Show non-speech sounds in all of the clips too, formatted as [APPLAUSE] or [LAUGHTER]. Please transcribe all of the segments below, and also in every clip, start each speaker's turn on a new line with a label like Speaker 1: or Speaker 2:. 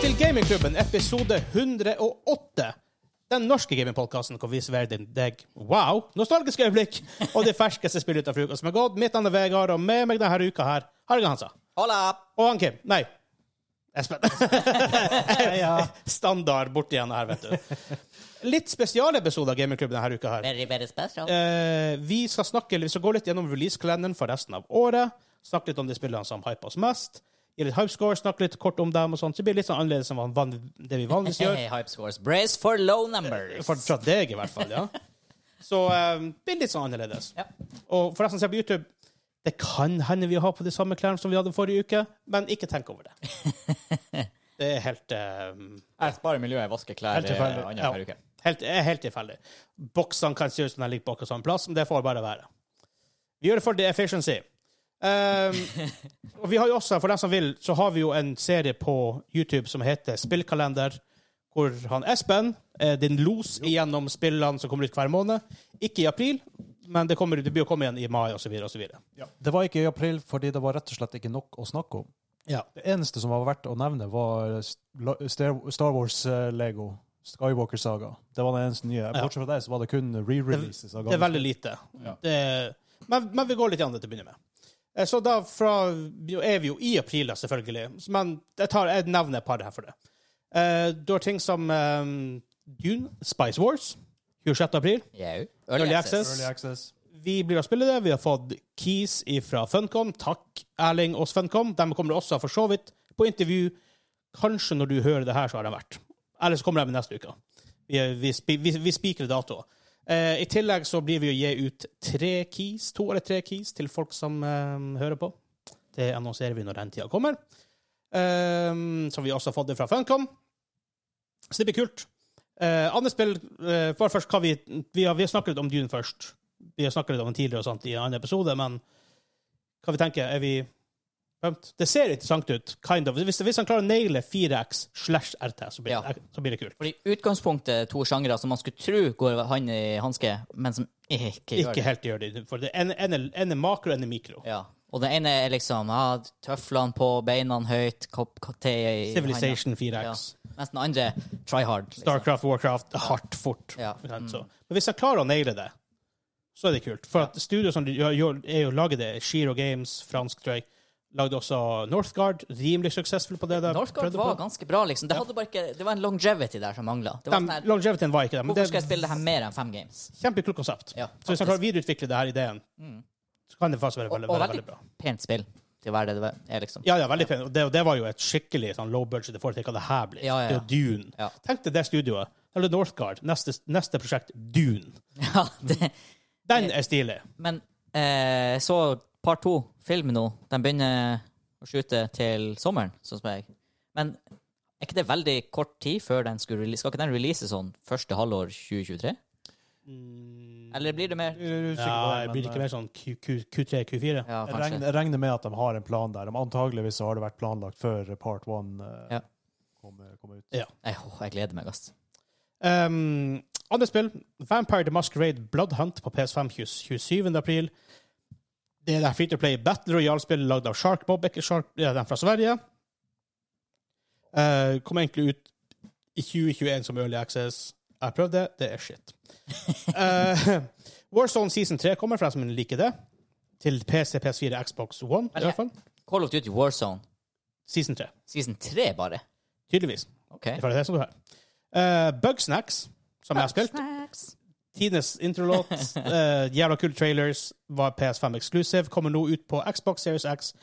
Speaker 1: til Gamingklubben, episode 108. Den norske gamingpodkasten hvor vi serverer din- deg wow, nostalgiske øyeblikk og de ferskeste spill ut av fruka som er gått. Mitt navn er Vegard, og med meg denne uka her Harge Hansa.
Speaker 2: Hola!
Speaker 1: Og han Kim. Nei, Espen.
Speaker 3: Ja.
Speaker 1: Standard borti igjen her, vet du. Litt spesialepisode av Gamingklubben denne uka her.
Speaker 2: Very, very special.
Speaker 1: Eh, vi skal snakke, eller vi skal gå litt gjennom release-kalenderen for resten av året. Snakke litt om de spillene som hyper oss mest. Gi litt hypescore, snakke litt kort om dem og sånn. Så det blir litt sånn annerledes enn hva- hva- det vi vanligvis
Speaker 2: Hey, [LAUGHS]
Speaker 1: gjør.
Speaker 2: hey, hype scores. Brace for low numbers.
Speaker 1: For, fra deg, i hvert fall. ja. Så eh, det blir litt sånn annerledes.
Speaker 2: Ja.
Speaker 1: Og forresten, se på YouTube. Det kan hende vi har på de samme klærne som vi hadde forrige uke, men ikke tenk over det. Det er helt eh,
Speaker 3: Jeg sparer miljøet, jeg vasker klær
Speaker 1: Helt
Speaker 3: eh,
Speaker 1: tilfeldig.
Speaker 3: andre
Speaker 1: Ja.
Speaker 3: per uke.
Speaker 1: Helt, er helt tilfeldig. Boksene kan se ut som de ligger på akkurat samme plass, men det får bare være. Vi gjør det for the efficiency. Um, og vi har jo også, for dem som vil, så har vi jo en serie på YouTube som heter Spillkalender, hvor han Espen er din los igjennom spillene som kommer ut hver måned. Ikke i april, men det, kommer, det blir å komme igjen i mai, osv., osv.
Speaker 4: Det var ikke i april fordi det var rett og slett ikke nok å snakke om.
Speaker 1: Ja.
Speaker 4: Det eneste som var verdt å nevne, var St- Star eh, Wars-lego. Skywalker-saga. Det var det eneste nye. Bortsett fra det, så var det kun re-releases. av
Speaker 1: Det er
Speaker 4: gamle
Speaker 1: veldig lite. Det, men, men vi går litt an det til å begynne med. Eh, Så da fra, er vi jo i april, da, selvfølgelig. Men jeg, tar, jeg nevner et par her for det. Eh, du har ting som eh, Dune, Spice Wars, 26. april.
Speaker 2: Jau.
Speaker 1: Early access.
Speaker 4: Early access.
Speaker 1: Vi blir å spille det. Vi har fått keys fra Funcom. Takk, Erling og Funcom. De kommer også for så vidt på intervju. Kanskje når du hører det her, så har de vært. Eller så kommer de neste uke. Vi, vi, spi- vi, vi spikrer datoer. Eh, I tillegg så blir vi å gi ut tre keys, to eller tre keys til folk som eh, hører på. Det annonserer vi når den tida kommer. Eh, som vi også har fått det fra Funcom. Så det blir kult. Eh, andre spill eh, bare først hva vi, vi, har, vi har snakket litt om Dune først vi har snakket litt om den tidligere og sånt i en annen episode, men hva vi tenker, er vi pumped? Det ser interessant ut, kind of. Hvis, hvis han klarer å naile 4X slash RT, så blir,
Speaker 2: Ja.
Speaker 1: det- så blir det kult.
Speaker 2: Fordi utgangspunktet er to sjangere som man skulle tro går hand i hanske, men som ikke gjør
Speaker 1: Ikke
Speaker 2: det.
Speaker 1: helt gjør det, for det en, en, er- en er makro, en er mikro.
Speaker 2: Ja. Og det ene er liksom ja, tøflene på, beina høyt, kopp kopp te i handa.
Speaker 1: Civilization 4X.
Speaker 2: Ja. Mens den andre try hard. Liksom.
Speaker 1: Starcraft, Warcraft, hardt, fort.
Speaker 2: Ja. Mm.
Speaker 1: Ikke sant, så. Men hvis han klarer å naile det, så er det kult. For at studio som gjør, gjør, er jo laget det, Shiro Games, fransk, tror jeg, lagde også Northgard, rimelig suksessfull på det der.
Speaker 2: Northgard
Speaker 1: Prøvde
Speaker 2: var
Speaker 1: på.
Speaker 2: ganske bra, liksom. Det, hadde bare ikke, det var en longevity der som mangla. Det var sånn
Speaker 1: De,
Speaker 2: her,
Speaker 1: longevityen var ikke det, men
Speaker 2: Hvorfor skal
Speaker 1: det
Speaker 2: jeg spille det her mer enn fem games?
Speaker 1: Kjempekult konsept.
Speaker 2: Ja,
Speaker 1: så hvis han
Speaker 2: faktisk. Mm.
Speaker 1: klarer å videreutvikle det her ideen, så kan det faktisk være
Speaker 2: Og,
Speaker 1: veldig,
Speaker 2: og
Speaker 1: veldig,
Speaker 2: veldig
Speaker 1: veldig bra.
Speaker 2: pent spill til å være det det er, liksom.
Speaker 1: Ja, ja, veldig pent. Og det, og det var jo et skikkelig sånn low budget i forhold til hva det her blir.
Speaker 2: Ja, ja,
Speaker 1: Det er
Speaker 2: ja.
Speaker 1: jo Dune.
Speaker 2: Ja.
Speaker 1: Tenk deg det studioet. Eller Northgard. Neste, neste prosjekt, Dune.
Speaker 2: [LAUGHS] Ja, det,
Speaker 1: Den er stilig.
Speaker 2: men eh, så part to, film nå, de begynner å skyte til sommeren, sånn som jeg. Men er ikke det veldig kort tid før den skulle release? Skal ikke den release sånn første halvår 2023? Eller blir det mer?
Speaker 4: Jeg er usikker
Speaker 1: Ja,
Speaker 4: på det,
Speaker 1: det
Speaker 4: men, eh,
Speaker 1: blir ikke mer sånn Q, Q, Q3, Q4.
Speaker 2: Ja,
Speaker 4: jeg regner,
Speaker 2: kanskje.
Speaker 4: jeg regner med at de har en plan der. Men Antageligvis så har det vært planlagt før part one eh,
Speaker 2: Ja.
Speaker 4: kommer, kommer ut.
Speaker 2: Jeg, åh, jeg gleder meg, ass.
Speaker 1: Um, andre spill, Vampire the Masquerade Bloodhunt på PS5 20- 27. april. Det er det Free to Play Battle Royale-spillet lagd av Sharkbob, ikke Shark, det er den fra Sverige. Uh, kom egentlig ut i 2021 som Early Access. Jeg prøvde det, det er
Speaker 4: [LAUGHS]
Speaker 1: shit. Uh, Warzone Season 3 kommer, for dem som liker det. Til PC, PS4, Xbox One, i
Speaker 2: Men
Speaker 1: hvert fall.
Speaker 2: Call of Duty Warzone,
Speaker 1: Season 3,
Speaker 2: season 3 bare.
Speaker 1: tydeligvis.
Speaker 2: Ok.
Speaker 1: Det er det som du har. Uh, Bugsnacks, som jeg har spilt. Tidenes introlåt. [LAUGHS] eh, jævla kule trailers. Var PS5 exclusive. Kommer nå ut på Xbox Series X,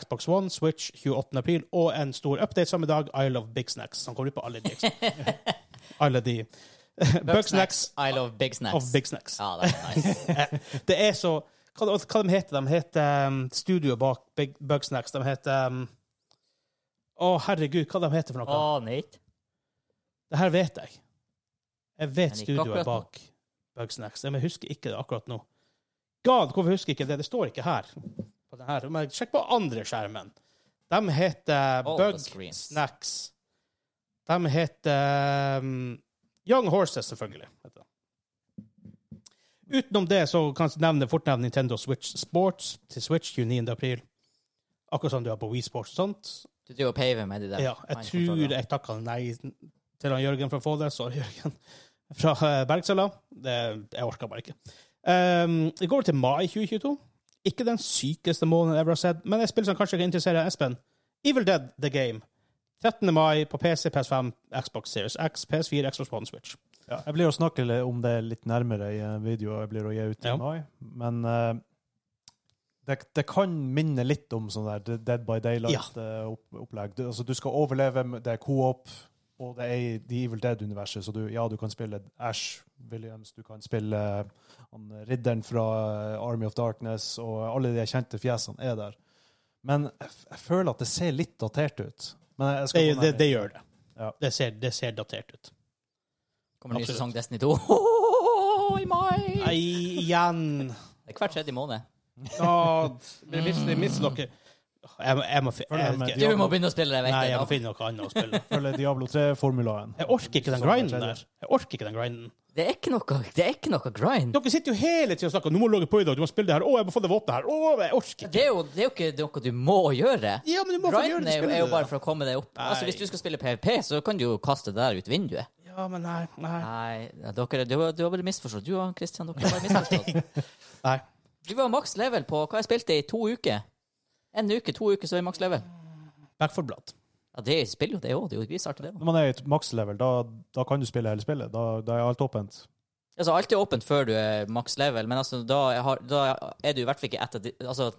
Speaker 1: Xbox One, Switch 28. april, og en stor update samme dag, I Love Big Snacks, som kommer ut på alle de [LAUGHS] Alle de Bug Snacks
Speaker 2: I love big snacks.
Speaker 1: of Big Snacks. Eh,
Speaker 2: Ja, det er nice. [LAUGHS]
Speaker 1: [LAUGHS] Det er så Hva, hva de heter de? heter um, studioet bak Big, Bug Snacks. De heter um, Å, herregud, hva de heter for noe?
Speaker 2: Åh, neat.
Speaker 1: Det her vet jeg. Jeg
Speaker 2: Men
Speaker 1: vet
Speaker 2: ikke
Speaker 1: studioet
Speaker 2: akkurat nå.
Speaker 1: bak Bugsnacks. Men jeg husker ikke det akkurat nå. God, hvorfor husker jeg ikke det? Det står ikke her. På den her. Men sjekk på andre skjermen. De heter
Speaker 2: All the screens.
Speaker 1: Bugsnacks. De heter um, Young Horses, selvfølgelig. heter de. Utenom det så kan jeg nevne fort nevne Nintendo Switch Sports til Switch 29. april. Akkurat som du har på Wii Sports og sånt.
Speaker 2: Du driver og paver med de der.
Speaker 1: Ja, jeg tror
Speaker 2: mindkontrollene.
Speaker 1: jeg takka nei til han Jørgen for å få det. Sorry, [LAUGHS] Jørgen. Fra eh, Bergsøla. Det, jeg orka bare ikke. Ehm, det går til mai 2022. Ikke den sykeste måneden jeg ever har sett, men et spill som kanskje kan interessere Espen. Evil Dead The Game. 13. mai på PC, PS5, Xbox Series X, PS4, Xbox One Switch.
Speaker 4: Ja, jeg blir å snakke litt om det litt nærmere i en video jeg blir å gi ut i
Speaker 1: Ja.
Speaker 4: mai, men eh, det, det kan minne litt om sånn der Dead by Daylight-opplegg. Du, altså, du skal overleve, men det er co-op, og det er i The Evil Dead-universet, så du, ja, du kan spille Ash Williams, du kan spille eh, han, ridderen fra eh, Army of Darkness, og alle de kjente fjesene er der. Men jeg, f- jeg føler at det ser litt datert ut. Men jeg
Speaker 1: Det,
Speaker 4: skal gå
Speaker 1: det,
Speaker 4: nærmere.
Speaker 1: det gjør det.
Speaker 4: Ja.
Speaker 1: Det, ser, det ser datert ut.
Speaker 2: Kommer ny
Speaker 1: Absolutt.
Speaker 2: sesong Destiny [LAUGHS] 2 i mai!
Speaker 1: Nei, igjen!
Speaker 2: Det er hver tredje måned.
Speaker 1: Å, [LAUGHS] det mister mister dere Jeg må, jeg må, fi- jeg, vet
Speaker 2: Du
Speaker 1: ikke.
Speaker 2: må begynne å spille det, vet
Speaker 1: Nei,
Speaker 2: jeg.
Speaker 1: jeg må
Speaker 2: da.
Speaker 1: finne noe annet å spille.
Speaker 4: Følger Diablo 3-formulaen.
Speaker 1: Jeg orker ikke den grinden der. Jeg orker ikke den grinden.
Speaker 2: Det er ikke noe, det er ikke noe grind.
Speaker 1: Dere sitter jo hele tiden og snakker 'nå må du logge på i dag', 'du må spille det her', 'å, jeg må få det våpenet her', 'å, jeg orker ikke'.
Speaker 2: Det er jo, det er jo ikke noe du må gjøre.
Speaker 1: Ja, men du må få gjøre
Speaker 2: Grinden
Speaker 1: det
Speaker 2: er jo,
Speaker 1: spillet.
Speaker 2: er jo bare for å komme deg opp. Altså,
Speaker 1: Nei.
Speaker 2: Hvis du skal spille PVP, så kan du jo kaste det der ut vinduet.
Speaker 1: Ja, men nei, nei.
Speaker 2: Nei, dere, du, har- du har bare misforstått. Du og Christian, dere
Speaker 1: [LAUGHS]
Speaker 2: har bare misforstått.
Speaker 1: Nei.
Speaker 2: Du var maks level på hva jeg spilte i to uker. En uke, to uker, så er jeg maks level.
Speaker 1: Back for blood.
Speaker 2: Ja, det spiller jo det òg. Det er jo grisartig, det òg.
Speaker 4: Når man er i et makslevel, da, da kan du spille hele spillet. Da, da er alt åpent.
Speaker 2: Altså, alt er åpent før du er maks level, men altså, da, har, da er du i hvert fall ikke etter de- Altså,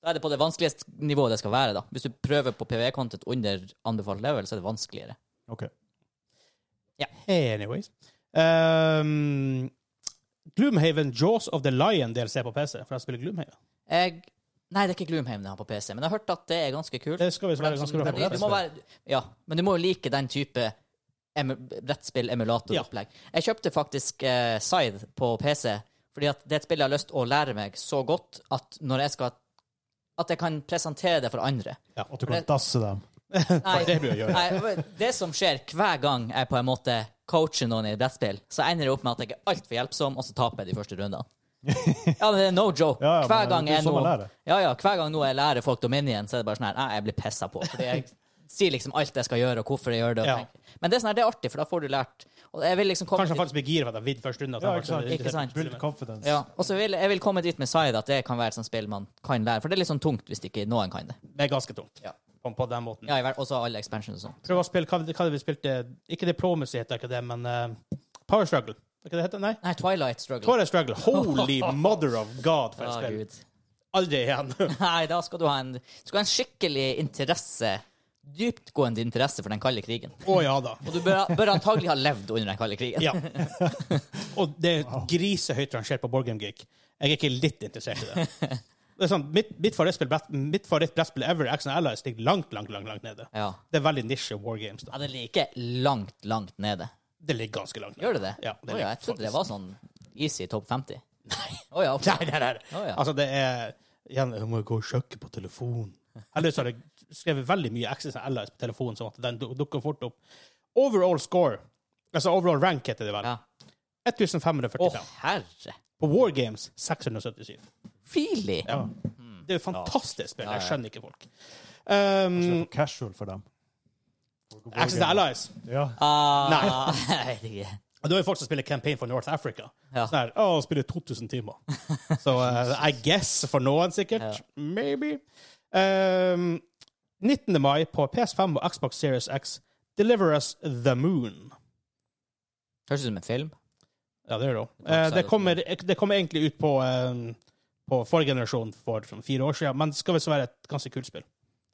Speaker 2: da er det på det vanskeligste nivået det skal være, da. Hvis du prøver på PVE-content under anbefalt level, så er det vanskeligere.
Speaker 4: Ok.
Speaker 1: Anyways. Ehm, Gloomhaven Jaws of the Lion DLC på PC, for jeg spiller Gloomhaven.
Speaker 2: Jeg Nei, det er ikke Gloomhaven jeg har på PC, men jeg har hørt at det er ganske kult.
Speaker 1: Det skal visst være ganske bra.
Speaker 2: Fordi
Speaker 1: på
Speaker 2: du
Speaker 1: PC.
Speaker 2: må være, ja, men du må jo like den type emu- brettspill-emulator-opplegg. Jeg kjøpte faktisk eh, Side på PC, fordi at det er et spill jeg har lyst å lære meg så godt at når jeg skal At jeg kan presentere det for andre.
Speaker 1: Ja.
Speaker 4: At du kan dasse dem.
Speaker 2: Nei,
Speaker 1: Det bør jeg gjøre.
Speaker 2: nei, men det som skjer hver gang jeg på en måte coacher noen i et brettspill, så ender det opp med at jeg er altfor hjelpsom, og så taper jeg de første
Speaker 4: [LAUGHS]
Speaker 2: rundene. Ja, men det er no joke.
Speaker 4: Ja, ja, men
Speaker 2: hver, gang
Speaker 4: det er
Speaker 2: jeg
Speaker 4: sånn
Speaker 2: nå,
Speaker 4: man lærer.
Speaker 2: ja, ja, hver gang nå jeg lærer folk Dominion, så er det bare sånn her Nei, jeg blir pissa på. Fordi jeg sier liksom alt jeg skal gjøre, og hvorfor jeg gjør det. og
Speaker 1: Ja.
Speaker 2: tenker. Men det er sånn her, det er artig, for da får du lært. Og jeg vil liksom komme
Speaker 1: Kanskje han
Speaker 2: dit-
Speaker 1: faktisk blir gira for at jeg vidd første runde. at
Speaker 4: Ja,
Speaker 1: han
Speaker 4: ikke
Speaker 1: faktisk-
Speaker 4: sant.
Speaker 2: Ikke sant.
Speaker 4: Build confidence.
Speaker 2: ja, og så vil jeg vil komme dit med side at det kan være et sånt spill man kan lære. For det er litt sånn tungt hvis ikke noen kan det.
Speaker 1: Det er ganske tungt.
Speaker 2: Ja.
Speaker 1: På, på den måten.
Speaker 2: Ja, i hver- også alle expansions og sånn.
Speaker 1: Prøv å spille hva, hva det vi spilte Ikke Diplomacy heter ikke det, men eh, Power Struggle. Er ikke det det heter? Nei?
Speaker 2: Nei, Twilight Struggle.
Speaker 1: Power Struggle.
Speaker 2: [LAUGHS]
Speaker 1: Holy mother of god, for et
Speaker 2: Ja,
Speaker 1: spill.
Speaker 2: Ah, Gud.
Speaker 1: Aldri igjen. [LAUGHS]
Speaker 2: Nei, da skal du ha en, du skal ha en skikkelig interesse, dyptgående interesse for den kalde krigen.
Speaker 1: Å ja da.
Speaker 2: Og du bør, bør antagelig ha levd under den kalde krigen. [LAUGHS]
Speaker 1: Ja. Og det er grisehøyt rangert på Borgum Geek. Jeg er ikke litt interessert i
Speaker 2: [LAUGHS]
Speaker 1: det. det er sånn, mitt mitt favorittspill brett- mitt favorittbrettspill ever, Action Allies, ligger langt, langt, langt langt nede.
Speaker 2: Ja.
Speaker 1: Det er veldig nisje War Games.
Speaker 2: Ja,
Speaker 1: da.
Speaker 2: det ligger langt, langt nede.
Speaker 1: Det ligger ganske langt nede.
Speaker 2: Gjør det det?
Speaker 1: Ja, det
Speaker 2: Å
Speaker 1: ligger
Speaker 2: jeg trodde det
Speaker 1: faktisk-
Speaker 2: var sånn easy topp 50. Nei. Å ja, ok.
Speaker 1: [LAUGHS] Nei, nei, nei.
Speaker 2: Å ja.
Speaker 1: Altså, det er igjen, Jeg må jo gå og sjekke på telefonen. Ellers har jeg skrevet veldig mye Action Allies på telefonen, sånn at den du- dukker fort opp. Overall score, altså overall rank heter det vel,
Speaker 2: Ja.
Speaker 1: 1545.
Speaker 2: Å, herre.
Speaker 1: På War Games 677.
Speaker 2: Really?
Speaker 1: Ja. Det er jo fantastisk spill.
Speaker 2: Hmm. Ja, ja.
Speaker 1: Jeg skjønner ikke folk. Um,
Speaker 4: Så det er
Speaker 2: Mm.
Speaker 4: for casual for dem.
Speaker 1: Access to Allies.
Speaker 4: Ja.
Speaker 2: Ah,
Speaker 1: Nei.
Speaker 2: jeg vet ikke.
Speaker 1: Og Da er det folk som spiller Campaign for North Africa.
Speaker 2: Ja.
Speaker 1: Sånn her, å, spiller 2000
Speaker 2: [LAUGHS]
Speaker 1: timer. Så eh, I guess for noen, sikkert.
Speaker 2: Ja.
Speaker 1: Maybe. Um, 19. mai på PS5 og Xbox Series X Deliver Us The Moon.
Speaker 2: Høres ut som en film.
Speaker 1: Ja, det gjør det òg.
Speaker 2: Det er
Speaker 1: det, kommer- eh, det kommer egentlig ut på, eh, på forrige generasjon for sånn fire år siden, men det skal visst være et ganske kult spill.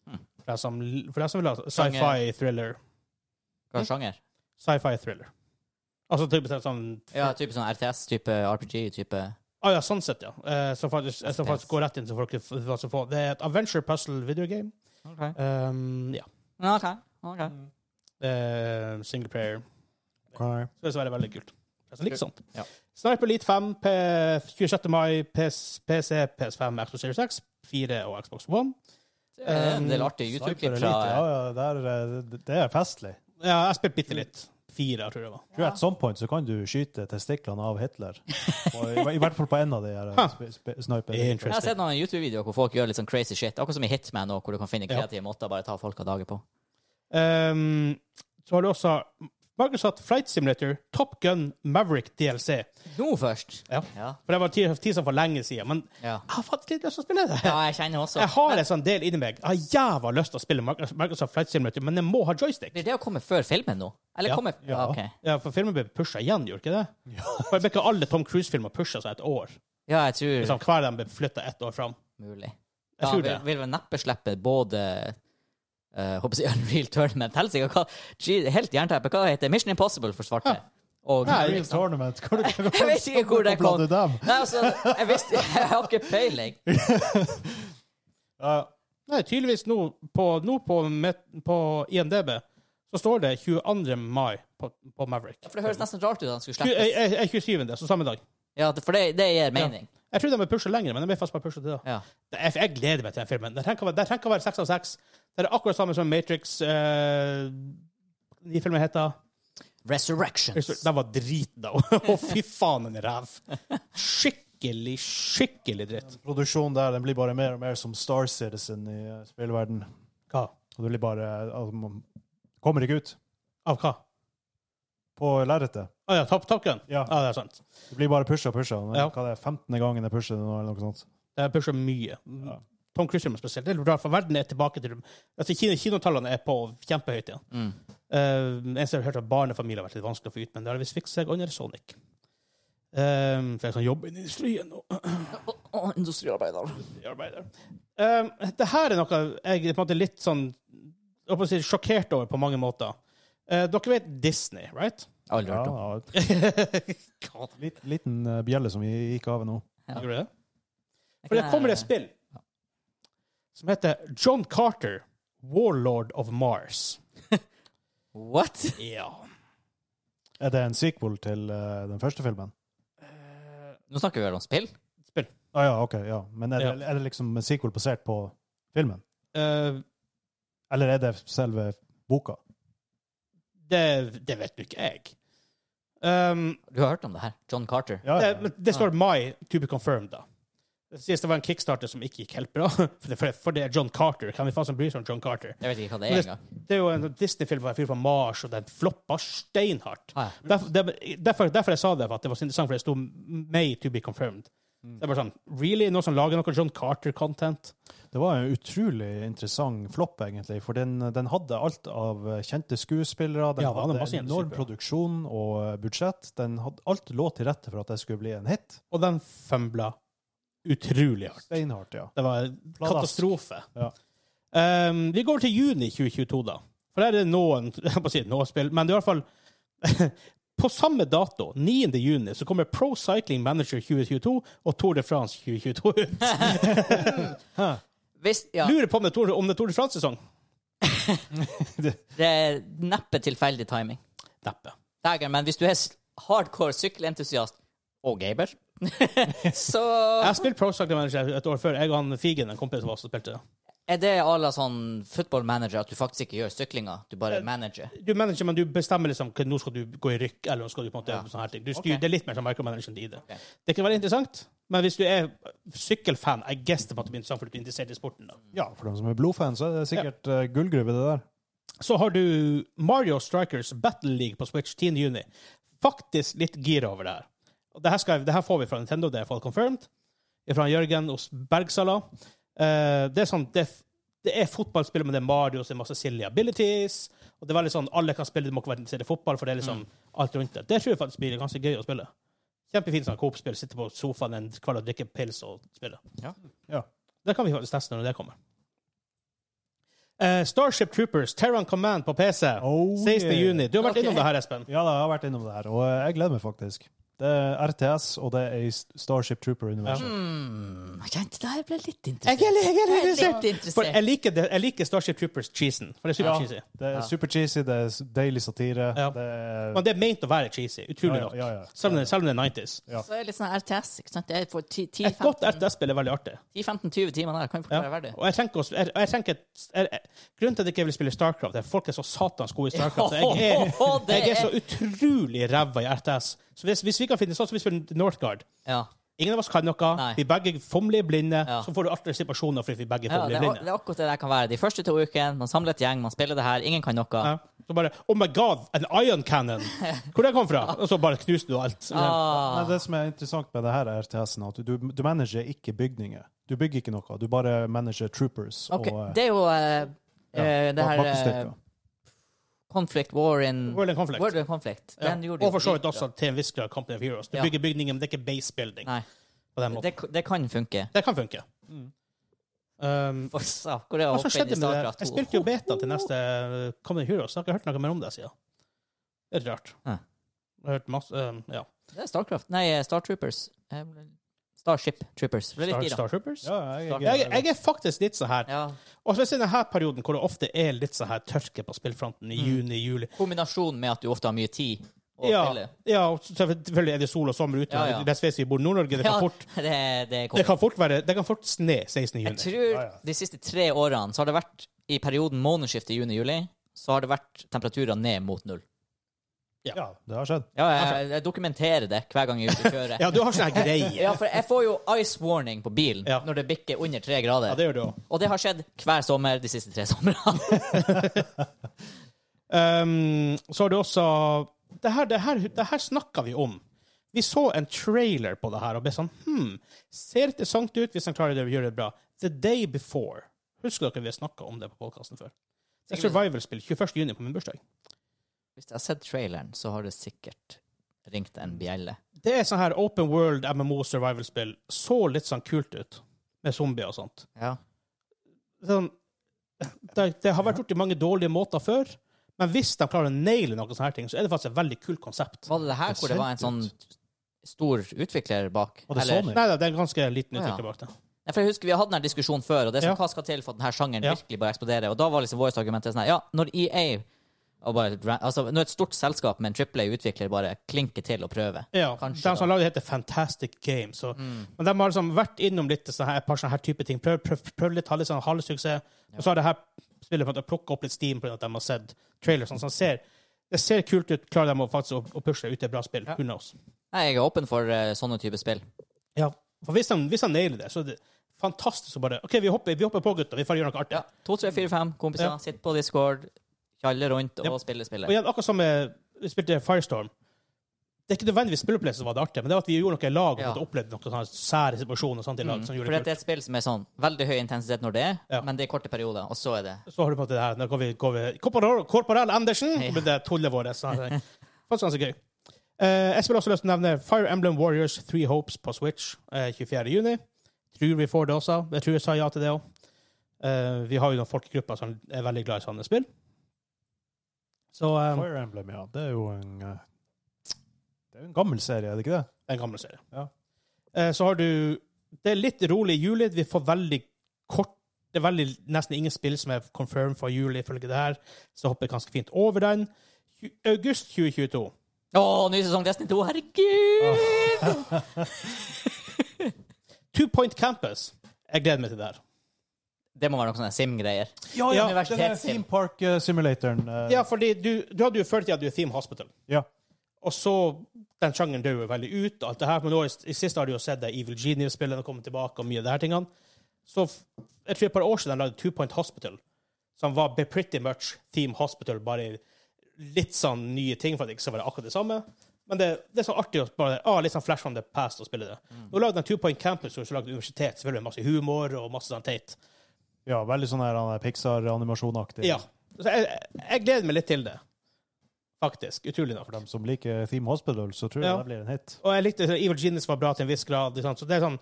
Speaker 2: Hmm.
Speaker 1: For deg som, for deg som vil ha
Speaker 2: Sjanger.
Speaker 1: sci-fi thriller.
Speaker 2: Hva er sjanger?
Speaker 1: Sci-fi thriller. Altså type sånn
Speaker 2: Ja, type sånn RTS, type RPG, type
Speaker 1: Ah, ja, sånn sett, ja. Eh, som faktisk, eh, som
Speaker 2: FPS.
Speaker 1: faktisk går rett inn, så folk hva som får. Det er et adventure puzzle video game.
Speaker 2: OK.
Speaker 1: Um, ja.
Speaker 2: OK. ok.
Speaker 1: Um, Eh, single player.
Speaker 4: Ok.
Speaker 1: Så det skal være veldig kult. Altså, litt sånt.
Speaker 2: Ja.
Speaker 1: Sniper Elite 5, P 26. mai, PS, PC, PS5, Xbox Series X, 4 og Xbox One.
Speaker 2: Det er En del
Speaker 1: Um,
Speaker 2: artige
Speaker 4: Sniper
Speaker 2: YouTube-klipp
Speaker 4: Elite,
Speaker 2: fra
Speaker 4: Ja, ja, der, eh, det- det er festlig.
Speaker 1: Ja, jeg spilte bitte litt. fire, tror jeg det var.
Speaker 4: Tror jeg at some point så kan du skyte testiklene av Hitler. Og i, I hvert fall på en av de her eh, spe- spe- sniperne.
Speaker 1: Interesting.
Speaker 2: Jeg har sett noen YouTube-videoer hvor folk gjør litt sånn crazy shit. Akkurat som i Hitman, også, hvor du kan finne
Speaker 1: Ja.
Speaker 2: kreative måter å bare ta folk av dage på.
Speaker 1: Ehm, så har du også Microsoft Flight Simulator, Top Gun, Maverick DLC.
Speaker 2: Nå først!
Speaker 1: Ja.
Speaker 2: Ja.
Speaker 1: For det var ti- tisa for lenge siden, men
Speaker 2: Ja.
Speaker 1: jeg har faktisk litt lyst til å spille det.
Speaker 2: ja, jeg kjenner også
Speaker 1: Jeg har en sånn del inni meg. Jeg har jævla lyst til å spille Microsoft Microsoft Flight Simulator, men jeg må ha joystick.
Speaker 2: Blir det å komme før filmen nå? Eller
Speaker 1: Ja.
Speaker 2: komme ja.
Speaker 4: Ja.
Speaker 2: ok.
Speaker 1: Ja, for filmen ble pusha igjen, gjorde ikke det? [LAUGHS] For jeg ble ikke alle Tom Cruise-filmer pusha seg et år.
Speaker 2: Ja, jeg tror
Speaker 1: Liksom, hver av dem ble flytta ett år fram.
Speaker 2: mulig.
Speaker 1: Jeg
Speaker 2: Da
Speaker 1: tror
Speaker 2: vil,
Speaker 1: det.
Speaker 2: vil vel neppe slippe både eh, håper jeg å si [LAUGHS] Unreal Tournament helsike, hva, gee, Helt jernteppe. Hva heter det? Mission Impossible for svarte? Og
Speaker 1: Nei,
Speaker 4: Real Tournament. Hvor, hvor,
Speaker 2: [LAUGHS] Jeg vet ikke hvor det kom.
Speaker 4: kobler du dem?
Speaker 2: Nei, altså, jeg visste [LAUGHS] Jeg har ikke peiling.
Speaker 4: Ja,
Speaker 1: Nei, tydeligvis nå på, nå på, met- på IMDb så står det 22. mai på, på Maverick.
Speaker 2: For det høres nesten rart ut at han skulle
Speaker 1: Tju- eh,
Speaker 2: slippes.
Speaker 1: eh, eh, 27., så samme dag.
Speaker 2: Ja, det- for det, det gir mening.
Speaker 1: Jeg trodde de ble pusha lenger, men de ble faktisk bare pusha til da.
Speaker 2: Ja.
Speaker 1: Jeg, jeg gleder meg til den filmen. Den trenger å være- den trenger å være seks av seks. Det er akkurat samme som Matrix. Eh, de filmene heter
Speaker 2: Resurrections.
Speaker 1: Den var drit, da. [LAUGHS] Å, fy faen, en ræv. Skikkelig, skikkelig dritt.
Speaker 4: Produksjonen der den blir bare mer og mer som Star Citizen i eh, spillverden.
Speaker 1: Hva?
Speaker 4: Og det blir bare altså, man Kommer ikke ut
Speaker 1: Av hva?
Speaker 4: på lerretet.
Speaker 1: Å ja, Top, top Gun?
Speaker 4: Ja.
Speaker 1: ja, det er sant.
Speaker 4: Det blir bare pusha og pusha. Men
Speaker 1: Ja.
Speaker 4: Hva det er 15. gangen jeg pusher det nå, eller noe sånt.
Speaker 1: Det pusher mye.
Speaker 4: Ja.
Speaker 1: Tom Cruise-filmer spesielt. Det er rart, for verden er tilbake til altså, kino, Kinotallene er på kjempehøyt igjen.
Speaker 2: Mm.
Speaker 1: Uh, jeg har hørt at barnefamilier har vært litt vanskelig å få ut, men det har visst fikset seg under Sonic. Eh, for jeg kan jobbe i industrien nå.
Speaker 2: Å, å, industriarbeider.
Speaker 1: Jeg arbeider. Eh, det her er noe jeg er på en måte litt sånn jeg holdt på å si, sjokkert over på mange måter. Eh, dere vet Disney, [LAUGHS] right?
Speaker 2: Aldri
Speaker 4: Ja,
Speaker 2: hørt om.
Speaker 4: ja.
Speaker 1: Gjorde
Speaker 4: Litt, liten eh, bjelle som gikk av nå.
Speaker 1: du det? For det kommer et spill som heter John Carter, Warlord of Mars.
Speaker 2: What?
Speaker 1: Ja.
Speaker 4: Er det en sequel til eh, den første filmen?
Speaker 1: Ehm,
Speaker 2: Nå snakker vi vel om spill?
Speaker 4: Ah, ja, ok, ja. Men er det, er det liksom en sequel basert på filmen?
Speaker 1: Eh,
Speaker 4: Eller er det selve boka?
Speaker 1: det, det vet jo ikke jeg. Um,
Speaker 2: Du har hørt om det her? John Carter.
Speaker 4: Ja,
Speaker 1: det,
Speaker 4: ja.
Speaker 1: men det står My to be confirmed, da. Det sies det var en kickstarter som ikke gikk helt bra, [LAUGHS] for det, for det- for det er John Carter. Hvem i faen som bryr seg om John Carter?
Speaker 2: Jeg vet ikke hva det
Speaker 1: Men
Speaker 2: er
Speaker 1: det-
Speaker 2: engang.
Speaker 1: Det er jo en sånn Disney-film hvor en fyr fra Mars, og den floppa steinhardt.
Speaker 2: Ah,
Speaker 1: Derfor, det- derfor, derfor jeg sa det, for at det var så interessant, for det sto May to be confirmed. Så Det er bare sånn, Really? Noen som lager noe John Carter-content?
Speaker 4: Det var en utrolig interessant flopp, egentlig. For den, den hadde alt av kjente skuespillere. Den
Speaker 1: Ja, det hadde
Speaker 4: hadde
Speaker 1: masse
Speaker 4: en
Speaker 1: kjente
Speaker 4: enorm
Speaker 1: skuespillere.
Speaker 4: produksjon og eh, budsjett. Den hadde, alt lå til rette for at det skulle bli en hit.
Speaker 1: Og den fømbla utrolig hardt.
Speaker 4: Steinhardt, ja.
Speaker 1: Det var en
Speaker 4: Pladask.
Speaker 1: katastrofe.
Speaker 4: Ja.
Speaker 1: Ehm, vi går til juni 2022, da. For der er det noen, [LAUGHS] jeg holdt på å si noen spill, men det er i hvert fall [LAUGHS] På samme dato, 9. juni, så kommer Pro Cycling Manager 2022 og Tour de France 2022 ut.
Speaker 2: Hvis, ja,
Speaker 1: Lurer på om det er Tour, om det er Tour de France-sesong.
Speaker 2: det er neppe tilfeldig timing.
Speaker 1: Neppe.
Speaker 2: Dagen, men hvis du er s- hardcore sykkelentusiast og gamer, [LAUGHS] så
Speaker 1: Jeg spilte Pro Cycling Manager et år før. Jeg og han Figen, en kompis av oss, som spilte det.
Speaker 2: er det à la sånn football manager at du faktisk ikke gjør syklinga, du
Speaker 1: Eh,
Speaker 2: bare manager.
Speaker 1: Du manager, men du bestemmer liksom hva- nå skal du gå i rykk, eller nå skal du på en måte
Speaker 2: Ja.
Speaker 1: sånne her ting. Du styrer,
Speaker 2: Ok.
Speaker 1: Det er litt mer sånn micromanagement i det.
Speaker 2: Ok.
Speaker 1: Det kan være interessant, men hvis du er sykkelfan, I guess det måtte bli interessant fordi du er interessert i sporten. da.
Speaker 4: ja, for dem som er blodfan, så er det sikkert eh, gullgruve, det der.
Speaker 1: Så har du Mario Strikers Battle League på Switch 10. juni. Faktisk litt gira over det her. Og det her, skal, jeg- det her får vi fra Nintendo, det er fall confirmed. Fra Jørgen hos Bergsala. Eh, det er sånn, det, det er fotballspill, men det er Mario, så det er masse silly abilities. Og det er veldig sånn, alle kan spille, det må ikke være interessert i fotball, for det er liksom
Speaker 4: Mm.
Speaker 1: alt rundt det. Det tror jeg faktisk blir ganske gøy å spille. Kjempefint sånn Coop-spill, sitte på sofaen en kveld og drikke pils og spille.
Speaker 4: Ja.
Speaker 1: Det kan vi faktisk teste når det kommer. Eh, Starship Troopers, Terran Command på PC.
Speaker 4: Oh,
Speaker 1: 16.
Speaker 4: yeah.
Speaker 1: juni. Du har vært
Speaker 2: Ok.
Speaker 1: innom det her, Espen.
Speaker 4: Ja, da, jeg har vært innom det her, og eh, jeg gleder meg faktisk. Det er RTS, og det er i Starship Trooper-universet.
Speaker 2: Mm. Kjente, det her ble litt
Speaker 1: Jeg
Speaker 2: interessert.
Speaker 1: er litt- jeg er litt
Speaker 2: Jeg er
Speaker 1: interessert.
Speaker 2: litt
Speaker 1: For jeg
Speaker 2: interessert.
Speaker 1: liker, det, jeg liker Starship Troopers-cheesen. For det er
Speaker 4: Ja.
Speaker 1: supercheesy.
Speaker 4: Det er
Speaker 2: Ja.
Speaker 4: super cheesy, det er s- deilig satire.
Speaker 1: Ja.
Speaker 4: Det er,
Speaker 1: Men det er meint å være cheesy. Utrolig
Speaker 4: Ja,
Speaker 1: nok.
Speaker 4: ja, ja, ja.
Speaker 1: Selv om det, selv om det er 90s.
Speaker 4: Ja.
Speaker 2: Så det er litt sånn RTS. ikke sant? Det er for
Speaker 1: Et godt
Speaker 2: 10-15-20
Speaker 1: RTS-spill er veldig artig.
Speaker 2: timer der. Kan jo fort
Speaker 1: Ja.
Speaker 2: være verdig.
Speaker 1: Og jeg tenker, også, jeg, jeg tenker at- jeg, jeg, Grunnen til at jeg ikke vil spille Starcraft, er at folk er så satans gode i Starcraft. Så jeg
Speaker 2: [LAUGHS]
Speaker 1: er,
Speaker 2: det
Speaker 1: jeg er så utrolig ræva i RTS. Så hvis, hvis vi kan finne sånn som vi spiller Northgard
Speaker 2: Ja,
Speaker 1: Ingen av oss kan noe,
Speaker 2: Nei.
Speaker 1: vi begge fomler blinde,
Speaker 2: Ja.
Speaker 1: så får du artige situasjoner fordi vi begge
Speaker 2: ja det,
Speaker 1: fomler
Speaker 2: er, det
Speaker 1: blinde.
Speaker 2: er akkurat det det kan være. De første to ukene, man samler et gjeng, man spiller det her, ingen kan noe.
Speaker 1: Ja. Så bare Oh my god, an ion
Speaker 2: [LAUGHS]
Speaker 1: cannon! Hvor det kom fra? Og så bare knuste du alt.
Speaker 2: Ah.
Speaker 4: Nei, det som er interessant med det her RTS-en, er at du, du manager ikke bygninger. Du bygger ikke noe, du bare manager troopers.
Speaker 2: Ok,
Speaker 4: og, eh,
Speaker 2: det er jo eh, eh, det
Speaker 4: bak-
Speaker 2: her eh,
Speaker 4: bakkestyrker.
Speaker 2: Conflict War in
Speaker 1: World in Conflict.
Speaker 2: World in Conflict.
Speaker 1: Ja.
Speaker 2: Den gjorde
Speaker 1: Og for
Speaker 2: jo
Speaker 1: så vidt
Speaker 2: dritbra.
Speaker 1: også til en viss grad Company of Heroes. Du
Speaker 2: Ja.
Speaker 1: bygger bygninger, men det er ikke base building.
Speaker 2: Nei,
Speaker 1: På den måten.
Speaker 2: det, det kan funke.
Speaker 1: Det kan funke. Um,
Speaker 2: For sak, hvor det
Speaker 1: Hva
Speaker 2: å
Speaker 1: som
Speaker 2: hoppe inn
Speaker 1: skjedde
Speaker 2: i
Speaker 1: med det?
Speaker 2: Starcraft
Speaker 1: Jeg
Speaker 2: 2.
Speaker 1: spilte jo beta til neste Common Heroes. Jeg har ikke hørt noe mer om det siden. Det er rart.
Speaker 2: Ja.
Speaker 1: Jeg har hørt masse eh, ja.
Speaker 2: Det er Starcraft. Nei, eh, Star Troopers. Eh, Starship Troopers. Ble litt
Speaker 1: Star,
Speaker 2: gira.
Speaker 1: Star Troopers.
Speaker 4: Ja, jeg, jeg,
Speaker 1: Jeg, jeg er faktisk litt sånn her.
Speaker 2: Ja.
Speaker 1: Og spesielt i denne perioden hvor det ofte er litt sånn her tørke på spillfronten i juni, juli.
Speaker 2: Kombinasjonen med at du ofte har mye tid Mm. å
Speaker 1: Ja,
Speaker 2: spille.
Speaker 1: ja, og selvfølgelig er det sol og sommer ute.
Speaker 2: Ja, ja.
Speaker 1: Det er spesielt i Bord- Nord-Norge. Det, kan fort-
Speaker 2: Ja, [LAUGHS] det, det er
Speaker 1: det
Speaker 2: godt.
Speaker 1: kan fort være Det kan fort sne 16.
Speaker 2: Jeg
Speaker 1: juni.
Speaker 2: tror
Speaker 4: Ja, ja.
Speaker 2: de siste tre årene så har det vært i perioden månedsskiftet juni-juli, så har det vært temperaturer ned mot null.
Speaker 4: ja, det har skjedd.
Speaker 2: Ja, jeg, jeg dokumenterer det hver gang jeg er ute og
Speaker 4: [LAUGHS]
Speaker 2: kjører.
Speaker 1: Ja, du har sånn her greie.
Speaker 2: [LAUGHS] Ja, for jeg får jo ice warning på bilen
Speaker 1: Ja.
Speaker 2: når det bikker under tre grader.
Speaker 1: Ja, det gjør du òg.
Speaker 2: Og det har skjedd hver sommer de siste tre somrene. [LAUGHS]
Speaker 1: Um, så har du også det her, det, her, det her snakka vi om. Vi så en trailer på det her og ble sånn Hm, ser interessant ut hvis han klarer det og gjør det bra. The Day Before. Husker dere vi har snakka om det på podkasten før? Det er
Speaker 2: Sikkert.
Speaker 1: survival-spill 21. juni på min bursdag.
Speaker 2: Hvis jeg har sett traileren, så har det sikkert ringt en bjelle.
Speaker 1: Det er sånn her open world MMO survival-spill. Så litt sånn kult ut, med zombier og sånt.
Speaker 2: Ja.
Speaker 1: Sånn, det, det har vært gjort i mange dårlige måter før, men hvis de klarer å naile noen sånne her ting, så er det faktisk et veldig kult konsept.
Speaker 2: Var det det her
Speaker 4: Det
Speaker 2: hvor det var en
Speaker 4: ser
Speaker 2: sånn stor utvikler bak?
Speaker 4: Og det er
Speaker 2: Eller-
Speaker 4: Sony.
Speaker 1: Nei, nei, det er en ganske liten
Speaker 2: Å, ja.
Speaker 1: utvikling bak det.
Speaker 2: Nei, for jeg husker Vi har hatt denne diskusjonen før, og det er sånn,
Speaker 1: Ja.
Speaker 2: hva skal til for at denne sjangeren
Speaker 1: Ja.
Speaker 2: virkelig bare eksploderer? Og Da var liksom vårt argument sånn her, ja, når EA og bare, altså, Når et stort selskap med en AAA-utvikler bare klinker til og prøver
Speaker 1: Ja,
Speaker 2: Kanskje,
Speaker 1: de som
Speaker 2: da. Mm.
Speaker 1: har lagd det, heter Fantastic Games. Så. Men de har liksom vært innom litt sånn her, et par sånne her type ting. Prøv, prøv, prøv litt, ha litt sånn halvsuksess. Og så har det her spillet på en måte plukket opp litt steam på grunn av at de har sett trailers. Sånn, som ser, det ser kult ut. Klarer de å, faktisk, å, å pushe det ut til et bra spill? Who knows?
Speaker 2: Nei, jeg er åpen for eh, sånne type spill.
Speaker 1: Ja, for hvis de, hvis de nailer det, så er det fantastisk å bare OK, vi hopper, vi hopper på, gutta. Vi får gjøre noe artig.
Speaker 2: Ja. To, tre, fire, fem kompiser.
Speaker 1: Ja.
Speaker 2: Sitt på Discord, tjalle rundt og
Speaker 1: Ja.
Speaker 2: spille
Speaker 1: Og
Speaker 2: spillet.
Speaker 1: igjen, akkurat som eh, vi spilte Firestorm. Det er ikke nødvendigvis spilleopplevelsen som var det artige, men det var at vi gjorde noe i lag og
Speaker 2: Ja. Mm.
Speaker 1: ja. opplevde noen sånne sære situasjoner og sånt i lag. som gjorde
Speaker 2: For
Speaker 1: det
Speaker 2: det er et spill som er sånn veldig høy intensitet når det er,
Speaker 1: Ja.
Speaker 2: men det er korte perioder, og så er det
Speaker 1: så har du på en måte det her Nå går vi, går vi Korporal, Korporal Andersen!
Speaker 2: Ja.
Speaker 1: Ja. Det er tullet vårt. sånn her. Faktisk ganske gøy. Eh, jeg skulle også lyst til å nevne Fire Emblem Warriors Three Hopes på Switch eh, 24. juni. Tror vi får det også. Jeg tror jeg sa ja til det òg. vi har jo noen folk i gruppa som er veldig glad i sånne spill. Så eh,
Speaker 4: Fire Emblem, ja. Det er jo en eh, Det er jo en gammel serie, er det ikke det?
Speaker 1: det er en gammel serie.
Speaker 4: Ja.
Speaker 1: Eh, så har du Det er litt rolig i juli. Vi får veldig kort Det er veldig, nesten ingen spill som er confirmed for juli, ifølge det her. Så hopper jeg ganske fint over den. Tju- August 2022.
Speaker 2: Å, ny sesong Destiny 2! Herregud!
Speaker 1: Two Point Campus. Jeg gleder meg til det her.
Speaker 2: [LAUGHS] Det må være noen sånne sim-greier.
Speaker 4: Ja,
Speaker 1: ja,
Speaker 4: Denne
Speaker 2: universitetssim.
Speaker 4: Theme Park eh, Simulatoren. eh,
Speaker 1: Ja, fordi du, du hadde jo følt at du er Theme Hospital.
Speaker 4: ja.
Speaker 1: Og så Den sjangeren dør jo veldig ut, og alt det her. Men nå i, i siste har du jo sett det Evil Genius-spillene komme tilbake, og mye av de her tingene. Så f- jeg tror et par år siden de lagde Two Point Hospital, som var be- pretty much Theme Hospital, bare i litt sånn nye ting for at det ikke skal være akkurat det samme. Men det, det er så artig å bare ah, litt sånn flash from the past å spille det. Nå lagde de Two Point Campus, og så lagde de universitet, selvfølgelig med masse humor og masse sånn teit.
Speaker 4: ja, veldig sånn her han er Pixar-animasjonaktig.
Speaker 1: Ja. Så jeg, jeg gleder meg litt til det, faktisk. Utrolig nok.
Speaker 4: For dem som liker Theme Hospital, så tror jeg
Speaker 1: Ja.
Speaker 4: det blir en hit.
Speaker 1: Og jeg likte Evil Genius var bra til en viss grad. Liksom. Så det er sånn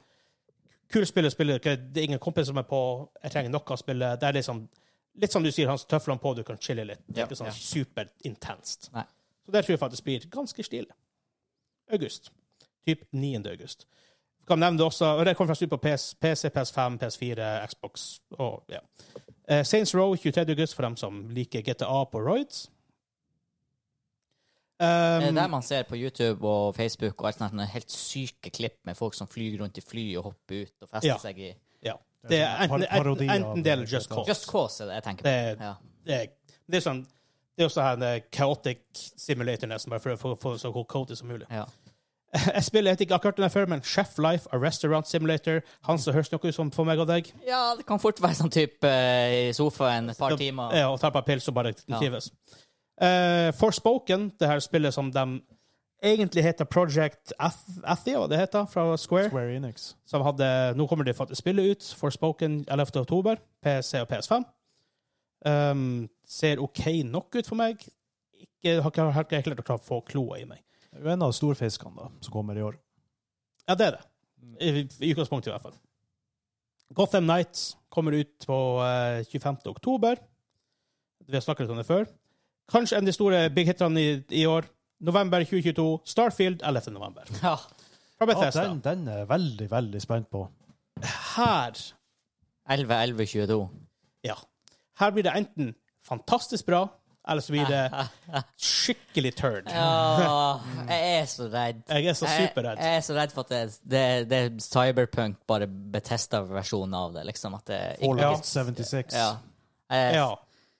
Speaker 1: Kul spill å spille. ikke- Det er ingen kompis som er på. Jeg trenger noe å spille. Det er liksom Litt som du sier, han som tøflene på, du kan chille litt. Det er
Speaker 2: Ja,
Speaker 1: ikke sånn
Speaker 2: ja.
Speaker 1: superintenst.
Speaker 2: Nei.
Speaker 1: Så det tror jeg faktisk blir ganske stilig. August. typ 9. august. Jeg Kan nevne det også, og det kommer faktisk ut på PS, PC, PS5, PS4, Xbox og ja. Eh, Saints Row 23. august for dem som liker GTA på Roids.
Speaker 2: Det er
Speaker 1: Um,
Speaker 2: Eh, der man ser på YouTube og Facebook og alt sånt, sånne helt syke klipp med folk som flyr rundt i fly og hopper ut og fester
Speaker 1: Ja.
Speaker 2: seg i
Speaker 1: det er sånn enten,
Speaker 4: Par- parodi
Speaker 1: enten,
Speaker 4: av
Speaker 1: enten det eller Just
Speaker 4: GTA.
Speaker 1: Cause.
Speaker 2: Just Cause er det jeg tenker på.
Speaker 1: Det-
Speaker 2: Ja.
Speaker 1: det er, det er sånn det er også her en chaotic simulator, nesten, bare for å få- få det så kaotisk som mulig. [LAUGHS]
Speaker 2: Ja.
Speaker 1: Jeg spiller heter ikke akkurat den her før, men Chef Life, A Restaurant Simulator. Han som høres noe ut som for meg og deg.
Speaker 2: ja, det kan fort være sånn type eh, i sofaen et par
Speaker 1: Da-
Speaker 2: timer.
Speaker 1: Ja, eh, og tar på en pils og bare
Speaker 2: Ja.
Speaker 1: trives. Eh, Forspoken, det her spillet som de egentlig heter Project Ath- Athia, hva det heter, fra Square.
Speaker 4: Square Enix.
Speaker 1: som hadde Nå kommer de faktisk spille ut, Forspoken 11. oktober, PC og PS5. Um, ser OK nok ut for meg. Ikke, har ikke har ikke klart å klare å få kloa i meg.
Speaker 4: Det er jo en av storfiskene da, som kommer i år.
Speaker 1: Ja, det er det. I, i utgangspunktet, i hvert fall. Gotham Nights kommer ut på eh, 25. oktober. Vi har snakket litt om det før. Kanskje en av de store big hitene i, i år. November 2022. Starfield 11. november.
Speaker 2: Ja.
Speaker 1: Fra
Speaker 4: Ja,
Speaker 1: Bethesda.
Speaker 4: den, den er jeg veldig, veldig spent på.
Speaker 1: Her
Speaker 2: 11, 11, 22.
Speaker 1: Ja. Her blir det enten fantastisk bra, eller så blir det skikkelig turd.
Speaker 2: Ja, [LAUGHS] jeg er så redd.
Speaker 1: Jeg er så superredd.
Speaker 2: Jeg, jeg er så redd for at det, det, det er cyberpunk, bare Betesta-versjonen av det. liksom, at det ikke...
Speaker 4: Fallout 76.
Speaker 2: Ja. Eh, Jeg,
Speaker 1: Ja,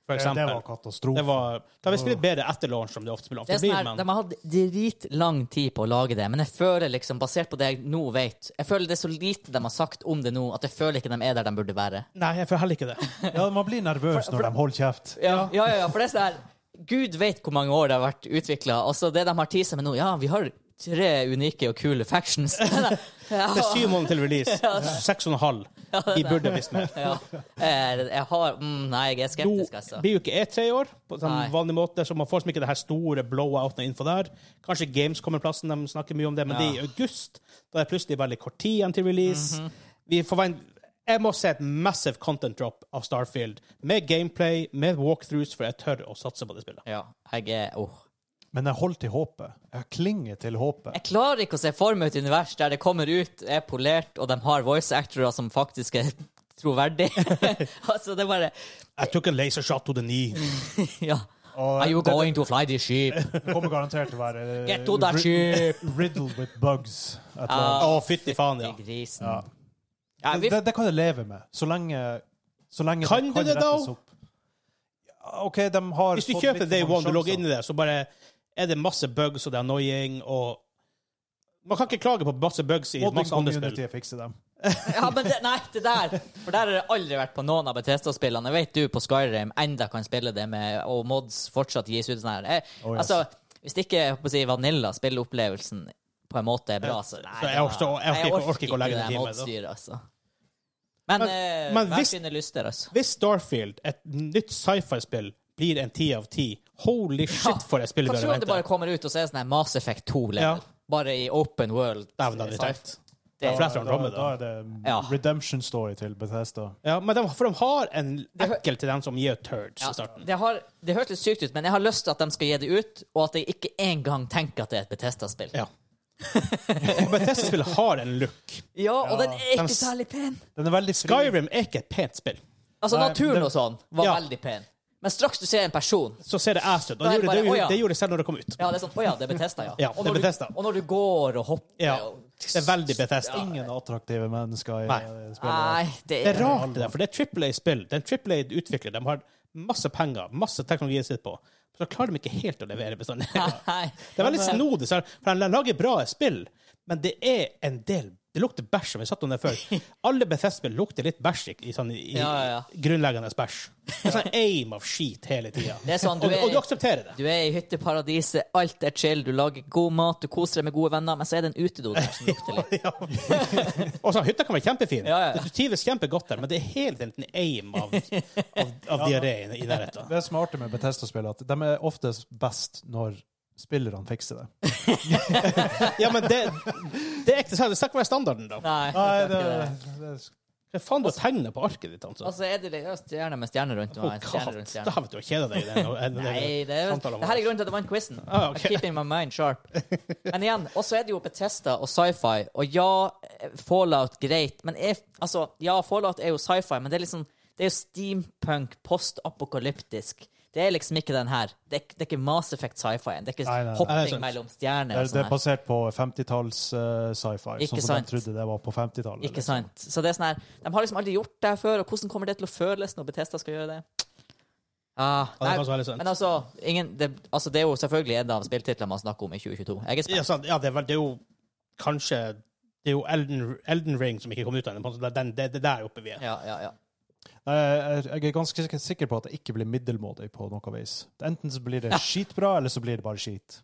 Speaker 1: for
Speaker 4: Det, det
Speaker 1: eksempel.
Speaker 4: var katastrofe.
Speaker 1: Det var, da har vi spilt bedre etter launch, som det ofte spiller.
Speaker 2: Det
Speaker 1: Ofte
Speaker 2: er sånn
Speaker 1: blir,
Speaker 2: her, de
Speaker 1: men
Speaker 2: har hatt dritlang tid på å lage det, men jeg føler liksom, basert på det jeg nå vet Jeg føler det er så lite de har sagt om det nå, at jeg føler ikke de er der de burde være.
Speaker 1: Nei, jeg føler heller ikke det.
Speaker 4: Ja, man blir nervøs når de holder kjeft.
Speaker 2: Ja, ja, ja, for det er sånn her Gud vet hvor mange år det har vært utvikla. Altså, det de har teasa med nå Ja, vi har tre unike og kule
Speaker 1: [LAUGHS]
Speaker 2: factions. Eh, ja,
Speaker 1: Det er syv måneder til
Speaker 2: [LAUGHS]
Speaker 1: release. Seks og en halv. De burde visst mer.
Speaker 2: ja. Eh, Jeg har mm, Nei, jeg er
Speaker 1: Nå
Speaker 2: skeptisk, altså.
Speaker 1: blir jo ikke E3 i år, på
Speaker 2: Nei.
Speaker 1: sånn vanlig måte, så man får liksom ikke det her store blowouten innenfor der. Kanskje Games kommer plassen, de snakker mye om det, men det er i august. Da er det plutselig veldig kort tid igjen til release.
Speaker 4: Mhm.
Speaker 1: Vi forventer Jeg må se et massive content drop av Starfield, med gameplay, med walkthroughs, for jeg tør å satse på det spillet.
Speaker 2: Ja, jeg er åh.
Speaker 4: Men jeg holder til håpet. Jeg klinger til håpet.
Speaker 2: Jeg klarer ikke å se for meg et univers der det kommer ut, er polert, og de har voice actorer som faktisk er [LAUGHS] troverdige. altså, det er bare
Speaker 1: I took a laser shot to the knee.
Speaker 2: Ja.
Speaker 4: Og
Speaker 2: Are you
Speaker 4: det-
Speaker 2: going to fly this
Speaker 1: [LAUGHS]
Speaker 2: ship?
Speaker 4: Det kommer garantert til å være eh,
Speaker 2: Get to that
Speaker 4: rid-
Speaker 2: ship!
Speaker 4: Riddled with bugs. et eller
Speaker 1: Å,
Speaker 4: annet.
Speaker 1: fytti faen, [LAUGHS] ja.
Speaker 2: Grisen.
Speaker 4: Ja.
Speaker 2: Ja, vi,
Speaker 4: Det, det kan jeg leve med, så lenge, så lenge
Speaker 1: Kan du det
Speaker 4: rettes
Speaker 1: da?
Speaker 4: opp. Ja, OK, de har
Speaker 1: Hvis du
Speaker 4: fått
Speaker 1: kjøper
Speaker 4: litt
Speaker 1: Day
Speaker 4: for mange
Speaker 1: One, du logger
Speaker 4: sjanser.
Speaker 1: inn i det, så bare er det masse bugs, og det er annoying, og Man kan ikke klage på masse bugs i
Speaker 4: Modding
Speaker 1: masse andre spill.
Speaker 4: community fikser dem.
Speaker 2: [LAUGHS] ja, men det, nei, det der For der har jeg aldri vært på noen av Bethesda-spillene. Jeg vet du på Skyrim enda kan spille det med, og mods fortsatt gis ut sånn her. Jeg,
Speaker 4: Oh, yes.
Speaker 2: Altså, hvis det ikke jeg holdt på å si, vanilla-spilleopplevelsen på en måte er bra, så nei.
Speaker 1: Så jeg
Speaker 2: det var-
Speaker 1: forstår- jeg orker ikke- orker ikke å legge
Speaker 2: det
Speaker 1: den timen, da.
Speaker 2: modstyret, altså. Men,
Speaker 1: Men-
Speaker 2: eh,
Speaker 1: men
Speaker 2: hver
Speaker 1: hvis-
Speaker 2: sine lyster, altså.
Speaker 1: Hvis Starfield, et nytt sci-fi-spill, blir en ti av ti, holy shit for et spill vi
Speaker 2: Kanskje
Speaker 1: har
Speaker 2: om det bare
Speaker 1: ventet.
Speaker 2: kommer ut og så er det sånn her Mass Effect 2-level.
Speaker 1: Ja.
Speaker 2: Bare i open world.
Speaker 1: Dæven, det hadde vi
Speaker 2: Sci-
Speaker 1: tenkt.
Speaker 2: Det-
Speaker 1: For jeg tror
Speaker 4: Da,
Speaker 1: han rammer
Speaker 4: da
Speaker 1: det.
Speaker 4: er det
Speaker 2: Ja.
Speaker 4: redemption story til Bethesda.
Speaker 1: Ja, men de, for de har en ekkel til dem som gir turds i
Speaker 2: Ja,
Speaker 1: starten.
Speaker 2: det, har, det høres litt sykt ut, men jeg har lyst til at de skal gi det ut, og at jeg ikke engang tenker at det er et Betesta-spill. [LAUGHS]
Speaker 1: Ja. Og Bethesda-spill har en look.
Speaker 2: Ja, og den er
Speaker 1: De
Speaker 2: ikke
Speaker 1: s-
Speaker 2: særlig pen.
Speaker 4: Den er veldig fri.
Speaker 1: Skyrim er ikke et pent spill.
Speaker 2: Altså,
Speaker 4: Nei,
Speaker 2: naturen
Speaker 4: det-
Speaker 2: og sånn var
Speaker 1: Ja.
Speaker 2: veldig pen, men straks du ser en person
Speaker 1: Så ser det ass ut. Og
Speaker 2: Da
Speaker 1: det
Speaker 2: er det
Speaker 1: gjorde,
Speaker 2: bare,
Speaker 1: det,
Speaker 2: å ja.
Speaker 1: gjorde- det gjorde det selv når det kom ut.
Speaker 2: Ja, det er sånn Å ja, det er Betesta, ja.
Speaker 1: Ja,
Speaker 2: og,
Speaker 1: det er
Speaker 2: når
Speaker 1: Bethesda.
Speaker 2: Du, og når du går og hopper
Speaker 1: Ja.
Speaker 2: og
Speaker 1: Det er veldig Bethesda.
Speaker 4: Ingen attraktive mennesker i
Speaker 1: Nei.
Speaker 4: eh, spillet.
Speaker 2: Nei, det
Speaker 1: Det er
Speaker 2: er
Speaker 1: rart, det der, for det er Triple A-spill. Det er en Triple A-utvikler. De har masse penger, masse teknologi sitt på. Så klarer de ikke helt å levere bestandig. [LAUGHS]
Speaker 2: [LAUGHS] Nei.
Speaker 1: Det er veldig snodig, så- for de lager bra spill, men det er en del Det lukter bæsj, som vi satt om det
Speaker 2: [LAUGHS]
Speaker 1: før. Alle Bethesda-spill lukter litt bæsj i, i, sånn, i
Speaker 2: Ja, ja, ja.
Speaker 1: grunnleggende bæsj. Det er sånn aim of shit hele tida.
Speaker 2: Det er sånn, du
Speaker 1: og,
Speaker 2: er-
Speaker 1: og du aksepterer det.
Speaker 2: Du er i hytteparadiset, alt er chill, du lager god mat, du koser deg med gode venner, men så er det en utedo der som lukter
Speaker 1: [LAUGHS]
Speaker 2: litt.
Speaker 1: [LAUGHS] Ja. og så Hytta kan være kjempefin.
Speaker 2: Ja, ja.
Speaker 1: Du trives kjempegodt der, men det er helt en aim
Speaker 2: [LAUGHS]
Speaker 1: av, av, av diaré i, i nærheten.
Speaker 4: Det som er artig med Bethesda-spill, er at de er oftest best når spillerne fikser det.
Speaker 1: [LAUGHS] Ja, men det, det er ikke sant. Det skal ikke være standarden, da.
Speaker 2: Nei,
Speaker 4: Nei,
Speaker 2: det,
Speaker 4: det,
Speaker 2: er ikke det.
Speaker 4: det
Speaker 1: Hva faen du har tegnet på arket ditt, altså?
Speaker 2: Altså, er det det- ja, stjerne med stjerne rundt?
Speaker 1: Å,
Speaker 2: meg, stjerne
Speaker 1: katt.
Speaker 2: rundt stjerne.
Speaker 1: Dæven, du har kjeda deg i den. den- den-
Speaker 2: Nei, det, er,
Speaker 1: samtalen
Speaker 2: det her er
Speaker 1: vår.
Speaker 2: grunnen til at jeg vant quizen.
Speaker 1: Ah, ok.
Speaker 2: I'm keeping my mind sharp. Men igjen, også er det jo Bethesda og sci-fi. Og ja, Fallout, greit. Men er, altså, ja, Fallout er jo sci-fi, men det er liksom Det er jo steampunk, postapokalyptisk. Det er liksom ikke den her. Det er, det er ikke Mass Effect sci-fi. Det er ikke
Speaker 4: Nei,
Speaker 1: Nei,
Speaker 4: nei, nei.
Speaker 1: det er
Speaker 2: hopping
Speaker 1: sant.
Speaker 2: mellom stjerner.
Speaker 4: Det,
Speaker 2: og
Speaker 4: er- det
Speaker 2: sånn
Speaker 4: er
Speaker 2: her.
Speaker 4: basert på 50-talls eh, sci-fi,
Speaker 2: Ikke
Speaker 4: sånn som
Speaker 2: sant.
Speaker 4: de trodde det var på 50-tallet.
Speaker 2: Ikke sant? Så det er sånn her De har liksom aldri gjort det her før, og hvordan kommer det til å føles når Bethesda skal gjøre det?
Speaker 1: Ja,
Speaker 2: Ah,
Speaker 1: det er faktisk veldig sant.
Speaker 2: men altså, ingen, det, altså, det er jo selvfølgelig en av spilltitlene man snakker om i 2022. Jeg er spent.
Speaker 1: Ja, sant. ja det, er vel, det er jo kanskje Det er jo Elden, Elden Ring som ikke kom ut ennå. Det er det, det der oppe vi er.
Speaker 2: Ja, ja, ja.
Speaker 4: Nei, Jeg, jeg er ganske sikker- sikker på at det ikke blir middelmådig på noe vis. Enten så blir det skitbra, eller så blir det bare skit.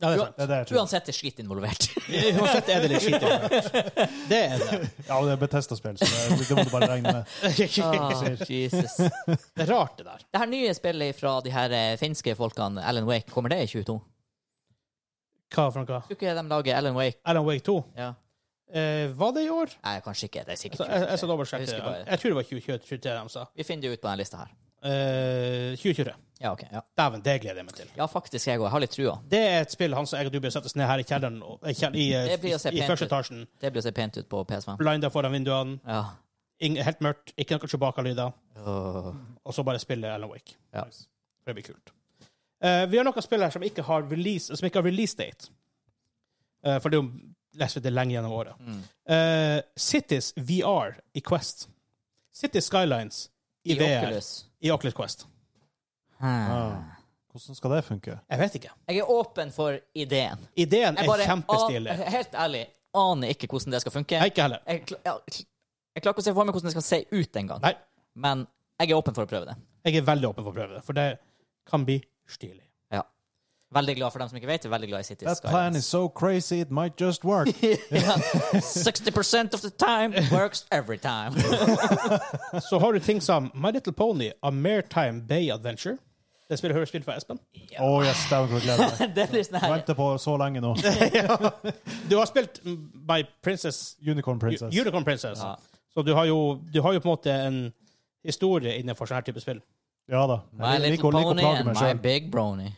Speaker 1: Ja, det er
Speaker 4: Det
Speaker 1: sant.
Speaker 4: er det jeg tror.
Speaker 2: Uansett er skitt
Speaker 1: [LAUGHS]
Speaker 2: involvert.
Speaker 1: Uansett er det litt skitt. involvert. [LAUGHS] Det er det.
Speaker 4: Ja, det er Betesta-spill, så det, det må du bare regne med.
Speaker 2: Ah, [LAUGHS] Jesus. Det
Speaker 1: [LAUGHS] Det er rart, det der.
Speaker 2: her nye spillet fra de her eh, finske folkene, Alan Wake, kommer det i 22?
Speaker 1: Hva for noe?
Speaker 2: Tror ikke de lager Alan Wake.
Speaker 1: Alan Wake 2.
Speaker 2: Ja.
Speaker 1: Eh, var det i år?
Speaker 2: Nei, kanskje ikke. Det er sikkert
Speaker 1: Altså, jeg, jeg skal
Speaker 2: 22.
Speaker 1: dobbeltsjekke.
Speaker 2: husker
Speaker 1: det.
Speaker 2: bare-
Speaker 1: Jeg tror det var 2023 de sa.
Speaker 2: Vi finner det ut på denne lista her.
Speaker 1: Eh, 2023.
Speaker 2: Ja, ok. Ja,
Speaker 1: Dæven, det gleder jeg meg til.
Speaker 2: ja faktisk, jeg òg. Jeg har litt trua.
Speaker 1: Det er et spill han som jeg og du bør sette oss ned her i kjelleren og- eh, kjell- i, eh,
Speaker 2: Det blir å se
Speaker 1: i, i
Speaker 2: pent
Speaker 1: første
Speaker 2: ut.
Speaker 1: etasjen.
Speaker 2: Det blir å se pent ut på PS5.
Speaker 1: Blinda foran vinduene,
Speaker 2: Ja.
Speaker 1: ing- helt mørkt, ikke noe Chewbacca-lyder,
Speaker 2: Åh.
Speaker 1: og så bare spille Alan Wake.
Speaker 2: Ja.
Speaker 1: For det blir kult. Eh, vi har noen spill her som ikke har release, som ikke har release date. Eh, for det er jo leser vi det lenge gjennom året.
Speaker 2: Mm.
Speaker 1: Eh, Cities VR i Quest. Cities Skylines i,
Speaker 2: I
Speaker 1: VR
Speaker 2: Oculus.
Speaker 1: i Oculus Quest.
Speaker 2: Hmm.
Speaker 4: Ah. Hvordan skal det funke?
Speaker 1: Jeg vet ikke.
Speaker 2: Jeg er åpen for ideen.
Speaker 1: Ideen
Speaker 2: Jeg
Speaker 1: er
Speaker 2: bare
Speaker 1: kjempestilig.
Speaker 2: an- Helt ærlig, aner ikke hvordan det skal funke.
Speaker 1: Nei, ikke heller.
Speaker 2: Jeg, kl- ja, kl- jeg klarer ikke å se for meg hvordan det skal se ut engang.
Speaker 1: Nei.
Speaker 2: Men jeg er åpen for å prøve det.
Speaker 1: Jeg er veldig åpen for å prøve det, for det kan bli stilig.
Speaker 2: Veldig glad for dem som ikke vet det. Veldig glad i Cities
Speaker 4: That plan is
Speaker 2: Skylines.
Speaker 4: so crazy it might
Speaker 2: [LAUGHS]
Speaker 4: just work.
Speaker 2: Ja. 60 of the time works every
Speaker 4: [LAUGHS]
Speaker 2: time. [LAUGHS]
Speaker 1: Så har du ting som My Little Pony, A Maritime Bay Adventure. Det spillet høres spilt for Espen.
Speaker 4: Å oh, yes, dæven hvor jeg gleder meg.
Speaker 2: det blir sånn her
Speaker 4: Venter på så lenge
Speaker 2: [LAUGHS]
Speaker 4: nå.
Speaker 1: Du har spilt mm, My Princess,
Speaker 4: Unicorn Princess.
Speaker 1: U- Unicorn Princess.
Speaker 2: Ja.
Speaker 1: Så du har, jo, du har jo på en måte en historie innenfor sånn her type spill.
Speaker 4: Ja da.
Speaker 2: My
Speaker 4: Jeg
Speaker 2: little
Speaker 4: liker, liker å
Speaker 2: pony
Speaker 4: plage
Speaker 2: and
Speaker 4: meg
Speaker 2: my
Speaker 4: sjøl.
Speaker 2: big brony.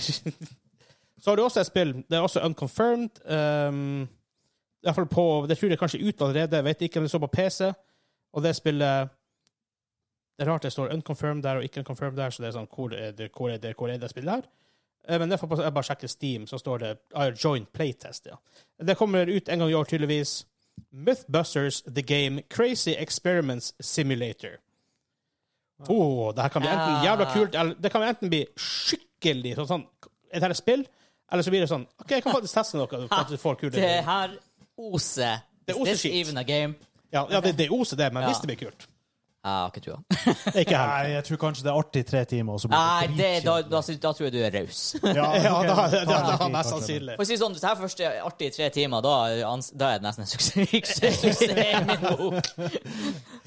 Speaker 1: Så har du også et spill, det er også unconfirmed. Um, i hvert fall på, Det tror jeg kanskje er ute allerede, jeg vet ikke om det står på PC. Og det spillet Det er rart det står unconfirmed der og ikke unconfirmed der, så det er sånn Hvor er det hvor er det, hvor er det spillet her? Eh, Men derfor jeg bare sjekker Steam, så står det ah, Joint Playtest, ja. Det kommer ut en gang i år, tydeligvis. Mythbusters The Game Crazy Experiments Simulator. Oh, det her kan bli enten
Speaker 2: Ja.
Speaker 1: jævla kult, eller det kan enten bli skikkelig sånn, sånn Et her er spill, eller så blir det sånn OK, jeg kan faktisk teste noe. for at du får kule
Speaker 2: [LAUGHS] Det her oser.
Speaker 1: Det
Speaker 2: Is
Speaker 1: oser
Speaker 2: this
Speaker 1: skit.
Speaker 2: even a game? Ah,
Speaker 1: Ja, ja det, det er oset, det, men
Speaker 2: Ja.
Speaker 1: hvis det blir kult
Speaker 2: Jeg har ikke trua.
Speaker 4: [LAUGHS]
Speaker 1: Det er Ikke
Speaker 4: Nei,
Speaker 1: heller.
Speaker 4: jeg tror kanskje det er artig i tre timer, og så
Speaker 2: Nei,
Speaker 4: blir det
Speaker 2: det, da,
Speaker 4: dritkjedelig.
Speaker 2: da, sy- da tror jeg du er raus.
Speaker 4: Ja,
Speaker 1: [LAUGHS]
Speaker 2: [LAUGHS]
Speaker 1: Ja,
Speaker 4: ok,
Speaker 1: da, da, da, da
Speaker 4: kanskje ikke,
Speaker 1: mest
Speaker 4: kanskje ikke.
Speaker 1: sannsynlig.
Speaker 2: For å si det sånn, hvis det her først er artig i tre timer, da, er ans- da er det nesten en suksess. suksess [LAUGHS] i min bok. Nei,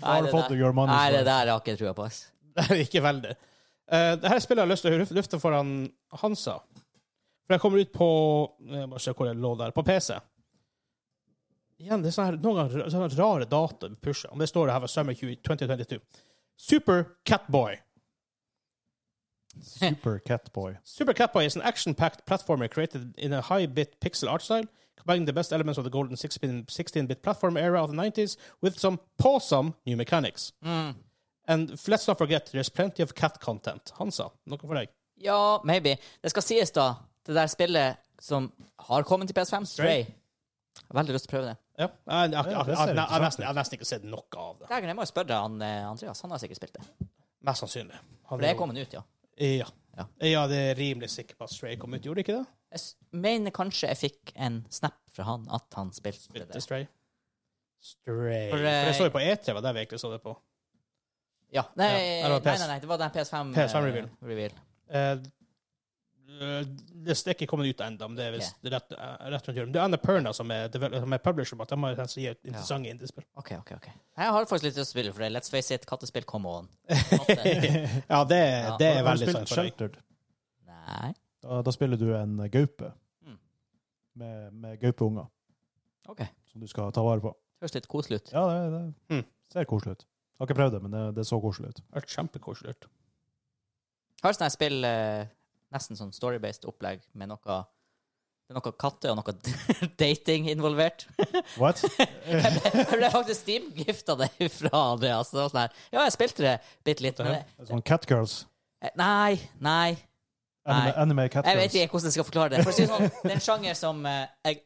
Speaker 4: har du
Speaker 2: det
Speaker 4: fått
Speaker 2: der-
Speaker 4: your money's
Speaker 2: Nei, det
Speaker 4: worth.
Speaker 2: der har jeg ikke trua på. ass.
Speaker 1: [LAUGHS] Det er ikke veldig. Uh, det her spillet har jeg lyst til å luf- lufte foran Hansa. For jeg kommer ut på jeg må se hvor det lå der, på PC. Igjen, det er sånne, her, noen ganger sånne rare datoer vi pusher. Om det står det her var summer 20 2022. Super Catboy.
Speaker 4: Super Catboy.
Speaker 1: Super Catboy is an action-packed platformer created in a high-bit pixel art style, combining the best elements of the golden 16-bit 16-bit platform era of the 90s with some awesome new mechanics. And let's not forget, there's plenty of cat content. Hansa, noe for deg?
Speaker 2: Ja, maybe. Det skal sies, da, det der spillet som har kommet til PS5, Stray. Jeg har veldig lyst til å prøve det.
Speaker 1: Ja, jeg, jeg, jeg, jeg,
Speaker 4: Ja,
Speaker 1: jeg, jeg,
Speaker 4: det ser
Speaker 1: har
Speaker 4: interessant
Speaker 1: nesten- jeg har nesten ikke sett noe av det.
Speaker 2: Dægen, jeg må jo spørre han, eh, Andreas. Han har sikkert spilt det.
Speaker 1: Mest sannsynlig. Han
Speaker 2: For det er
Speaker 1: jo-
Speaker 2: kommet ut, ja.
Speaker 1: Ja.
Speaker 2: Ja.
Speaker 1: ja, det er rimelig sikker på at Stray kom ut. Gjorde det ikke det?
Speaker 2: Jeg s- mener kanskje jeg fikk en snap fra han at han spilte
Speaker 1: Spilte
Speaker 2: det.
Speaker 1: Stray. Stray. For
Speaker 2: For,
Speaker 1: det
Speaker 2: eh,
Speaker 1: så jo på E3, var det vi egentlig så det på.
Speaker 2: Ja. Nei,
Speaker 1: Ja, eller
Speaker 2: nei,
Speaker 1: PS
Speaker 2: nei, nei, det var den PS5
Speaker 1: PS5 reveal.
Speaker 2: eh, reveal.
Speaker 1: Eh, eh, det er ikke kommet ut ennå, men det er visst rett, eh, rett rundt hjørnet. Det er Annapurna som er, devel- som er publisher, men at de har en som gir ut interessante indiespill.
Speaker 2: OK, OK. ok. Jeg har faktisk lyst til å spille for det. Let's face it, kattespill, come on.
Speaker 1: [LAUGHS] Ja, det,
Speaker 2: Ja.
Speaker 1: det er
Speaker 4: Har du
Speaker 1: veldig sant
Speaker 4: spilt
Speaker 1: for deg.
Speaker 4: Sheltered?
Speaker 2: Nei.
Speaker 4: Da, da spiller du en gaupe.
Speaker 2: Mm.
Speaker 4: Med, med gaupeunger.
Speaker 2: OK.
Speaker 4: Som du skal ta vare på.
Speaker 2: Høres litt koselig ut.
Speaker 4: Ja, det, det
Speaker 1: Mm.
Speaker 4: ser koselig ut. Jeg har ikke prøvd det, men det, det så koselig ut.
Speaker 1: Det har vært kjempekoselig. ut.
Speaker 2: Har sånne her spill eh, nesten sånn story-based opplegg med noe det er noe katte og noe [LAUGHS] dating involvert.
Speaker 4: What?
Speaker 2: [LAUGHS] Jeg ble faktisk steamgifta det fra Andreas. Det var sånn her. Ja, jeg spilte det bitte litt. Men det,
Speaker 4: Sånn Catgirls.
Speaker 2: eh, nei, nei. Nei.
Speaker 4: Anime, anime
Speaker 2: Jeg vet
Speaker 4: Catgirls.
Speaker 2: ikke hvordan jeg skal forklare det. For å si det sånn, det er en sjanger som eh, jeg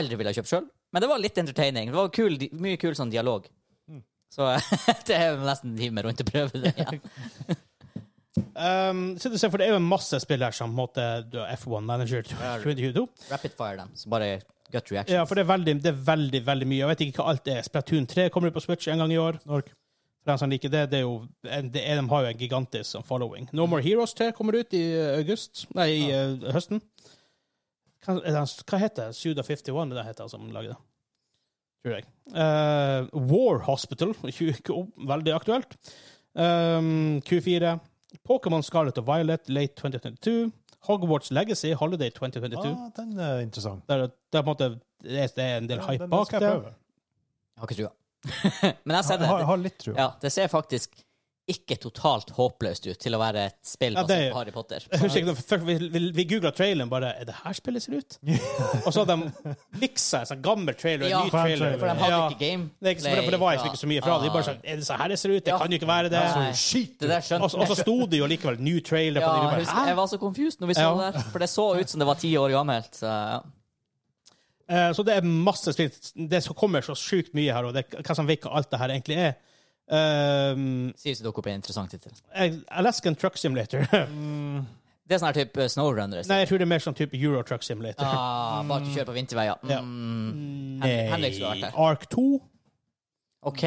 Speaker 2: aldri ville ha kjøpt sjøl. Men det var litt entertaining. Det var kul, di- mye kul sånn dialog.
Speaker 4: Mm.
Speaker 2: Så [LAUGHS] det er nesten en time rundt å prøve det
Speaker 1: [LAUGHS]
Speaker 2: igjen.
Speaker 1: Um, så du ser, for det er jo masse spill her som på en måte, du har F1 Manager 2022.
Speaker 2: Rapid fire dem. Så bare gut reaction.
Speaker 1: Ja, for det er, veldig, det er veldig veldig mye. Jeg vet ikke hva alt er. Splatoon 3 kommer ut på Switch en gang i år.
Speaker 4: Snork.
Speaker 1: For dem som liker det, det er jo, det er, De har jo en gigantisk sånn following. No More Heroes 3 kommer ut i eh, august. Nei, i eh, høsten. Hva, er det, hva heter det? Suda51 det heter han som lager det. Tror jeg. Eh, War Hospital, [LAUGHS] 20 ko- veldig aktuelt. Um, Q4. Pokémon Scarlet og Violet, late 2022. Hogwarts Legacy, holiday 2022.
Speaker 4: Ah, den er interessant.
Speaker 1: Der, der på en måte, det, er, det er en del
Speaker 4: Den-
Speaker 1: hype
Speaker 4: den
Speaker 1: bak
Speaker 4: skal
Speaker 1: det. [LAUGHS]
Speaker 4: jeg prøve.
Speaker 2: Jeg har ikke trua. [LAUGHS] Men jeg har
Speaker 4: Jeg
Speaker 2: sett det.
Speaker 4: har, jeg har litt trua.
Speaker 2: Ja, det ser faktisk ikke totalt håpløst ut til å være et spill
Speaker 1: Ja,
Speaker 2: basert
Speaker 1: det er-
Speaker 2: på Harry Potter.
Speaker 1: Jeg husker ikke, først Vi, vi, vi googla traileren bare Er det her spillet ser ut? og så hadde de miksa en sånn gammel trailer og en
Speaker 2: Ja,
Speaker 1: ny
Speaker 4: for
Speaker 1: trailer.
Speaker 4: de
Speaker 2: For de hadde
Speaker 1: Ja.
Speaker 2: ikke game.
Speaker 1: Det er ikke, for det- for det var liksom ikke så mye fra det. De bare sånn, Er det sånn her det ser ut? Det
Speaker 2: Ja.
Speaker 1: kan jo ikke være det.
Speaker 2: Nei. Det der skjønte
Speaker 1: Og så- og så sto det jo likevel new trailer på
Speaker 2: Ja,
Speaker 1: det. Vi
Speaker 2: jeg,
Speaker 1: bare,
Speaker 2: husker,
Speaker 1: Hæ?
Speaker 2: jeg var så confused når vi så
Speaker 1: Ja.
Speaker 2: det der, for det så ut som det var ti år gammelt. Så, ja.
Speaker 1: Eh, Så det er masse spill. Det som kommer så sjukt mye her, og det, hva som vet hva alt det her egentlig er. Um,
Speaker 2: Sier ikke dere opp en interessant tittel.
Speaker 1: Alaskan Truck Simulator. [LAUGHS]
Speaker 2: Det er sånn her type snowrunners.
Speaker 1: Nei, jeg tror det er mer sånn type Euro Truck Simulator.
Speaker 2: Ah, bare at du kjører på vinterveier. Mm. Henrik- Henrik skulle vært
Speaker 1: Nei.
Speaker 2: her.
Speaker 1: Ark 2.
Speaker 2: OK.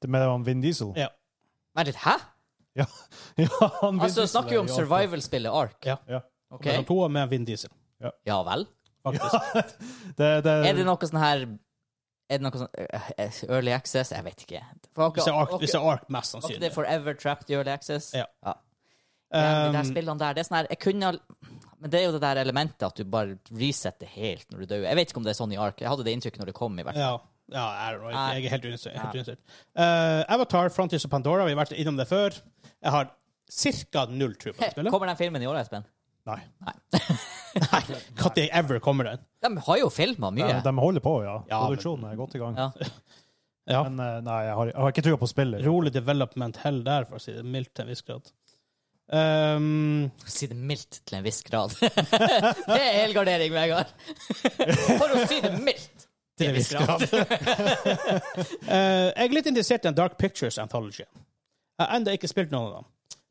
Speaker 4: Det Med han Vin Diesel?
Speaker 1: Ja.
Speaker 2: Vent litt, hæ?
Speaker 4: Ja. [LAUGHS] ja han Vin
Speaker 2: Altså,
Speaker 4: Diesel
Speaker 2: snakker
Speaker 4: er
Speaker 2: vi om
Speaker 4: i alt.
Speaker 2: survival-spillet Ark.
Speaker 1: Ja.
Speaker 2: [LAUGHS]
Speaker 4: Ja.
Speaker 2: OK.
Speaker 1: Okay. To med Vin Diesel.
Speaker 2: Ja vel?
Speaker 4: Det, det,
Speaker 2: Er det noe sånn her Er det noe sånn eh, Early access? Jeg vet ikke. For
Speaker 1: Hvis det er Ark,
Speaker 2: dere-
Speaker 1: hvis det er Ark mest
Speaker 2: Var ikke det
Speaker 1: sannsynlig.
Speaker 2: Forever Trapped i Early Access?
Speaker 1: Ja.
Speaker 2: Ja, de der
Speaker 1: Um,
Speaker 2: spillene der, det er sånn her Jeg kunne ha Men det er jo det der elementet at du bare resetter helt når du dør. Jeg vet ikke om det er sånn i Ark. Jeg hadde det inntrykket når det kom, i hvert fall.
Speaker 1: Ja. ja, I don't know.
Speaker 2: Nei.
Speaker 1: Jeg er helt unisert. Helt
Speaker 2: Ah. Ja.
Speaker 1: unisert. Eh, Avatar, Frontiers og Pandora, vi har vært innom det før. Jeg har ca. null tro på det spillet.
Speaker 2: Kommer den filmen i år, Espen?
Speaker 4: Nei.
Speaker 1: Nei, Når ever kommer den?
Speaker 2: De har jo filma
Speaker 4: De,
Speaker 2: mye.
Speaker 4: de holder på, ja.
Speaker 1: Ja, men-
Speaker 4: Produksjonen er godt i gang.
Speaker 2: Ja.
Speaker 1: Ja.
Speaker 4: Men eh, nei, jeg har, jeg har ikke trua på spillet.
Speaker 1: Rolig development hell der, for å si det mildt til en viss grad. Um,
Speaker 2: For å si det mildt til en viss grad. [LAUGHS] det er helgardering,
Speaker 1: [LAUGHS]
Speaker 2: Vegard. For å si det mildt.
Speaker 1: til en viss grad. [LAUGHS] Eh, jeg er litt interessert i en Dark Pictures Anthology. Jeg har ennå ikke spilt noen av dem.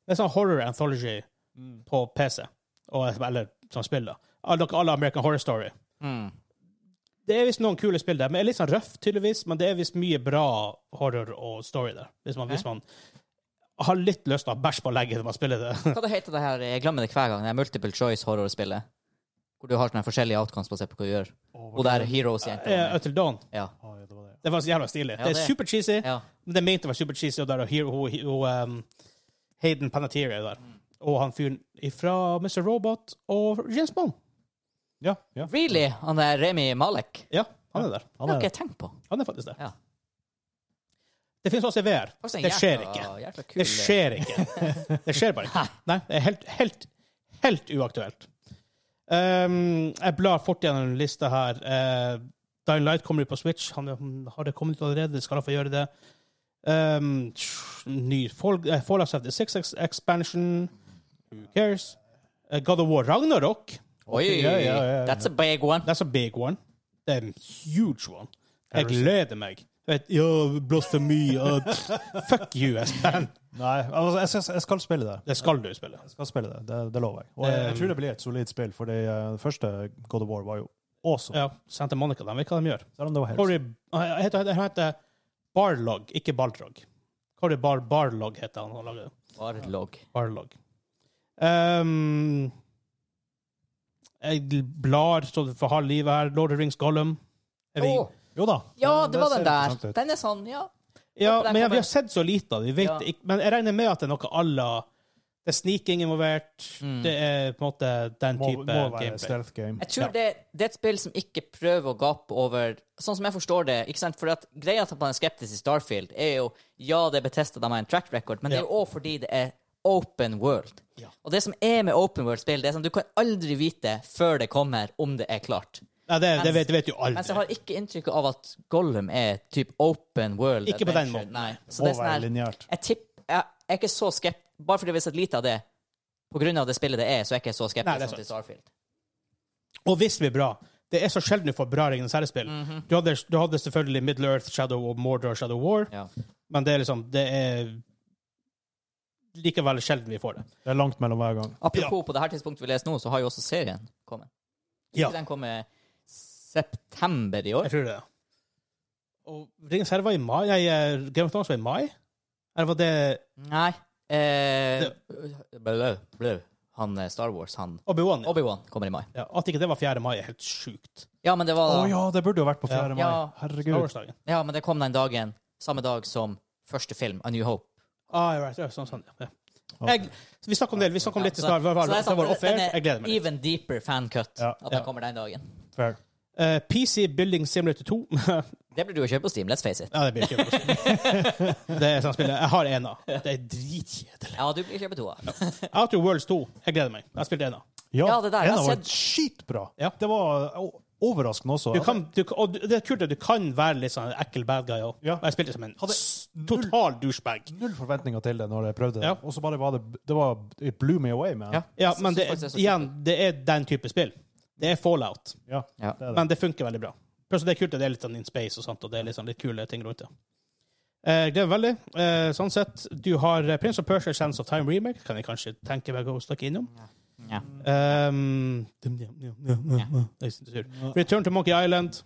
Speaker 1: Det er sånn horror anthology
Speaker 2: Mm.
Speaker 1: på PC, og, eller som spill, da. Alle, alle American Horror Story.
Speaker 2: Mm.
Speaker 1: Det er visst noen kule spill der, men er litt sånn røff, tydeligvis. Men det er visst mye bra horror og story der, hvis man, hvis man har litt lyst til å bæsje på legget når man spiller det.
Speaker 2: Hva det heter det her? Jeg glemmer det hver gang. Det er multiple choice-horrorspillet. Hvor du har sånne forskjellige outcomes basert på hva du gjør. Og det
Speaker 1: [LAUGHS]
Speaker 2: er
Speaker 1: Eh,
Speaker 2: heroes-jenter.
Speaker 1: Until Dawn.
Speaker 2: Ja.
Speaker 4: Oi, det var det.
Speaker 1: Det var så jævla stilig.
Speaker 2: Ja,
Speaker 1: det
Speaker 2: det
Speaker 1: er
Speaker 2: er.
Speaker 1: super cheesy,
Speaker 2: ja.
Speaker 1: men det er ment å være super cheesy, og der er Hero, Hero, um, Hayden Panettiere er der. Og han fyren fra Mr. Robot og James Bond.
Speaker 4: Ja, ja.
Speaker 2: Really? Han er Remi Malek?
Speaker 1: Ja, han er der.
Speaker 2: Det har
Speaker 4: Han er
Speaker 2: ikke
Speaker 4: det.
Speaker 2: jeg tenkt på.
Speaker 1: Han er faktisk der.
Speaker 2: Ja.
Speaker 1: Det finnes også i VR.
Speaker 2: Faktisk en
Speaker 1: Det skjer
Speaker 2: Altså, jækla-
Speaker 1: ikke.
Speaker 2: jækla kul-
Speaker 1: Det skjer ikke. Det skjer bare ikke. Nei, det er helt, helt, helt uaktuelt. Um, jeg blar fort gjennom lista her. Uh, Dying Light kommer ut på Switch. Han, han har det kommet ut allerede? Det skal han få gjøre det. Um, tsk, ny Fall, eh, Fallout 76 ex- expansion. Who cares? Eh, God of War Ragnarok.
Speaker 2: Oi,
Speaker 4: Ja, ja, ja, ja.
Speaker 2: that's a big one.
Speaker 1: That's a big one. Det er en huge one. Jeg
Speaker 4: Harrison.
Speaker 1: gleder meg. Jeg Vet, ja, blasfemi. ja, pff. [LAUGHS] fuck you, Espen.
Speaker 4: Nei, altså, jeg skal, jeg skal spille det.
Speaker 1: Det skal du spille.
Speaker 4: Jeg skal spille det, det, det lover jeg. Og jeg,
Speaker 1: Eh,
Speaker 4: jeg tror det blir et solid spill, for det eh, første God of War var jo awesome.
Speaker 1: Ja, Santa Monica, de vet hva de gjør.
Speaker 4: Selv om det var helt
Speaker 1: Cory Han heter, han heter Barlog, ikke Baltrog. Cory Bar, Barlog heter han. han lager det.
Speaker 2: Barlog.
Speaker 1: Barlog. Ehm, jeg blar så du får ha livet her. Lord of the Rings Gollum. Er vi,
Speaker 2: Åh,
Speaker 4: Jo da.
Speaker 2: ja,
Speaker 4: men
Speaker 2: det var
Speaker 4: ser
Speaker 2: den der.
Speaker 4: interessant ut.
Speaker 2: Den er sånn, ja.
Speaker 1: ja,
Speaker 2: den
Speaker 1: men ja,
Speaker 2: kommer.
Speaker 1: vi har sett så lite av det. vi vet
Speaker 2: Ja.
Speaker 1: ikke- Men jeg regner med at det er noe à la Det er sneaking involvert.
Speaker 2: Mm.
Speaker 1: Det er på en måte den
Speaker 4: Må,
Speaker 1: type
Speaker 4: må være
Speaker 1: gameplay.
Speaker 4: stealth game.
Speaker 2: Jeg tror det, det er et spill som ikke prøver å gape over Sånn som jeg forstår det. ikke sant? For at Greia til at man er skeptisk til Starfield, er jo ja, det er betesta de har en track record, men det er jo òg fordi det er open world.
Speaker 1: Ja.
Speaker 2: Og det som er med open world-spill, det er sånn du kan aldri vite før det kommer, om det er klart.
Speaker 1: Nei, det, det,
Speaker 2: Mens-
Speaker 1: vet, det vet jo
Speaker 2: Mens
Speaker 1: aldri.
Speaker 2: jeg har ikke inntrykk av at Gollum er typ open world.
Speaker 1: Ikke på den
Speaker 2: adventure.
Speaker 1: måten.
Speaker 2: Nei. Så
Speaker 4: Må
Speaker 2: det er sånn
Speaker 4: være
Speaker 2: her,
Speaker 4: lineært.
Speaker 2: jeg tipp, jeg, jeg er ikke så skeptisk, bare fordi vi har sett lite av det, på grunn av det spillet det er, så er jeg ikke så
Speaker 1: Nei, det er
Speaker 2: skeptisk
Speaker 1: sant.
Speaker 2: til Starfield.
Speaker 1: Og hvis vi er bra Det er så sjelden du får bra Ringenes herrespill.
Speaker 2: Mhm.
Speaker 1: du, hadde, du hadde selvfølgelig Middle Earth, Shadow of Mordor, Shadow War,
Speaker 2: Ja.
Speaker 1: men det er liksom Det er likevel sjelden vi får det.
Speaker 4: Det er langt mellom hver gang.
Speaker 2: Apropos, på det her tidspunktet vi leser nå, så har jo også serien kommet.
Speaker 1: Ja,
Speaker 2: Ikke Den kommer september i år.
Speaker 1: jeg tror det. Og Ringenes herre var i mai. Nei, eh, Game of Thrones var i mai? Eller var det
Speaker 2: Nei. Eh, blø, blø. Han eh, Star Wars, han
Speaker 1: Obi-Wan? Ja.
Speaker 2: Obi-Wan kommer i mai.
Speaker 1: Ja, at ikke det var 4. mai, er helt sjukt.
Speaker 2: Ja, men det
Speaker 4: Å
Speaker 2: var
Speaker 4: ja, det burde jo vært på 4. mai.
Speaker 2: Ja.
Speaker 4: Herregud.
Speaker 1: Årsdagen.
Speaker 2: Ja, men det kom den dagen, samme dag som første film, A New Hope.
Speaker 1: Ah, ja, right, ja, sånn, sånn, ja.
Speaker 4: Ok.
Speaker 1: Jeg, vi snakk om det vi snakk om
Speaker 2: Ja,
Speaker 1: litt i stad. hva var
Speaker 2: så det
Speaker 1: det-
Speaker 2: er
Speaker 1: Det
Speaker 2: sånn,
Speaker 1: var off-air.
Speaker 2: den er
Speaker 1: Jeg gleder meg. litt.
Speaker 2: Even deeper fancut,
Speaker 4: Ja.
Speaker 2: at den
Speaker 1: Ja.
Speaker 2: kommer den dagen.
Speaker 4: Fair.
Speaker 1: Eh, PC Building Simulator 2. [LAUGHS]
Speaker 2: Det blir du å kjøpe på Steam, let's face it.
Speaker 1: ja, det blir ikke noe.
Speaker 4: [LAUGHS]
Speaker 1: Det er sånn spill. Jeg har ena. Det er dritkjedelig.
Speaker 2: Ja, du blir kjøpe to. av.
Speaker 1: Outer Worlds 2. Jeg gleder meg. Jeg har spilt ena.
Speaker 4: Ja,
Speaker 2: Ja, det der, jeg
Speaker 4: Ena
Speaker 2: har
Speaker 4: var
Speaker 2: sett-
Speaker 4: skitbra.
Speaker 1: Ja.
Speaker 4: Det var eh, o- overraskende også.
Speaker 1: Du kan, du, og du- det er kult at du kan være litt sånn ekkel bad guy òg.
Speaker 4: Ja.
Speaker 1: Jeg spilte som en
Speaker 4: Hadde
Speaker 1: s- total douchebag.
Speaker 4: Null forventninger til det når jeg prøvde det.
Speaker 1: Ja.
Speaker 4: Og så bare var det Det var, it blew me away, man.
Speaker 2: Ja.
Speaker 1: Ja,
Speaker 2: Så-
Speaker 1: men
Speaker 2: så
Speaker 1: det,
Speaker 2: faktisk er så
Speaker 1: igjen, det er den type spill. Det er fallout.
Speaker 4: Ja,
Speaker 2: Ja.
Speaker 4: det er det.
Speaker 1: Men det funker veldig bra. Pluss at det er kult at det er litt sånn in space og sånt, og det er litt, sånn litt kule ting rundt det. Eh, gleder meg veldig. Eh, sånn sett, du har eh, Prince of Persia Sense of Time remake, kan jeg kanskje tenke meg å snakke innom.
Speaker 2: Ja.
Speaker 1: Um, jeg synes det er sur. Return to Monkey Island. [LAUGHS]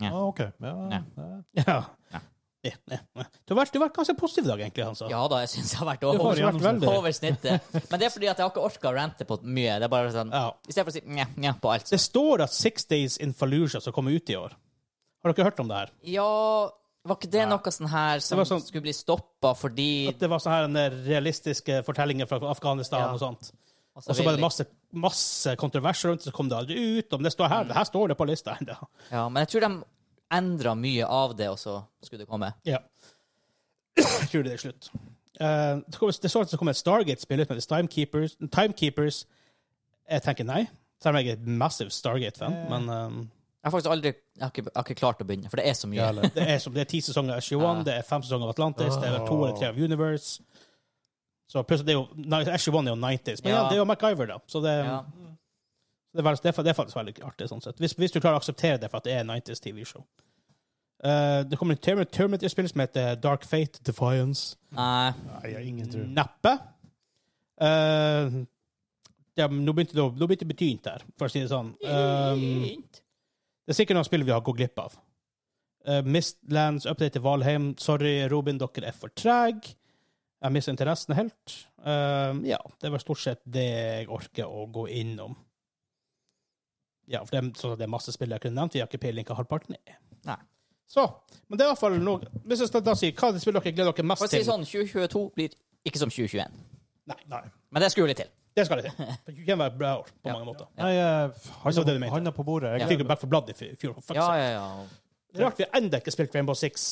Speaker 2: Ja.
Speaker 4: Ah, OK. Ja,
Speaker 2: Ja.
Speaker 4: ja.
Speaker 1: Ja.
Speaker 2: Ja.
Speaker 1: Eh, eh, eh. Du har vært, du har vært ganske positiv i dag, egentlig, altså. Hansa.
Speaker 2: ja da, jeg syns jeg har vært
Speaker 1: Du har
Speaker 2: over,
Speaker 1: vært veldig
Speaker 2: over snittet. Men det er fordi at jeg har ikke orka å rante på mye. Det er bare sånn,
Speaker 1: ja.
Speaker 2: I stedet for å si nja, nja på alt.
Speaker 1: Det står at Six Days in Fallujah skal komme ut i år. Har dere hørt om det her?
Speaker 2: Ja, var ikke det noe sånn her som
Speaker 1: Det var sånn-
Speaker 2: skulle bli stoppa fordi
Speaker 1: At det var sånne her en realistiske fortellinger fra Afghanistan
Speaker 2: Ja.
Speaker 1: og sånt.
Speaker 2: Og
Speaker 1: Og så var det masse, masse kontroverser rundt, så kom det aldri ut. Om det står her, det her står det på lista [LAUGHS] ennå.
Speaker 2: Ja, men jeg tror de endra mye av det, og så skulle det komme.
Speaker 1: Ja. Jeg tror det er slutt. Eh, det kommer- det så ut som det kom et Stargate-spill ut med Timekeepers. Timekeepers Jeg tenker nei, selv om jeg er en massive Stargate-fan.
Speaker 2: Eh.
Speaker 1: Men ehm,
Speaker 2: Jeg har faktisk aldri jeg har ikke, jeg har ikke klart å begynne, for det er så mye.
Speaker 1: [LAUGHS]
Speaker 4: Jævlig.
Speaker 1: det er som det er ti sesonger av
Speaker 2: Ja.
Speaker 1: SG1, det er fem sesonger av Atlantis, det er to eller tre av Universe. Så plutselig, det er jo, nei, SG1 er jo 90s, men ja.
Speaker 2: Ja.
Speaker 1: det er jo MacGyver, da. Så det,
Speaker 2: Ja.
Speaker 1: Det er, vel- det er fa- det er faktisk veldig artig, sånn sett. Hvis, hvis du klarer å akseptere det for at det er 90s TV-show. Eh, det kommer et Termin- Terminator-spill som heter Dark Fate Defiance.
Speaker 2: Nei.
Speaker 4: Nei, jeg har ingen tro.
Speaker 1: Neppe. Eh, ja, men nå begynte det å nå begynte det å bli tynt her, for å si det sånn. Eh, det er sikkert noen spill vi har gått glipp av. Eh, Mistlands, Update til Valheim. Sorry, Robin, dere er for treg. Jeg mister interessen helt. Eh, ja, det var stort sett det jeg orker å gå innom. Ja, for det er, sånn at det er masse spill jeg kunne nevnt. Vi har ikke peiling hva halvparten er.
Speaker 2: Nei.
Speaker 1: Så, men det er i hvert fall noe Hvis jeg skal da si, hva er det spillet dere gleder dere
Speaker 2: For
Speaker 1: mest
Speaker 2: å si
Speaker 1: til?
Speaker 2: det sånn, 2022 blir ikke som 2021.
Speaker 1: Nei, nei.
Speaker 2: Men det skulle litt til.
Speaker 1: Det skal det til.
Speaker 2: [LAUGHS]
Speaker 1: For Det kan være et bra år på
Speaker 2: Ja.
Speaker 1: mange måter.
Speaker 4: Nei, eh, jeg
Speaker 1: Det var det du mente.
Speaker 4: handa på bordet.
Speaker 1: Jeg
Speaker 4: Jeg,
Speaker 1: fikk jo Back for Blood i f- fjor. for fuck's
Speaker 2: Ja,
Speaker 1: sake.
Speaker 2: ja, ja.
Speaker 1: Det er rart vi ennå ikke spilte Rainbow Six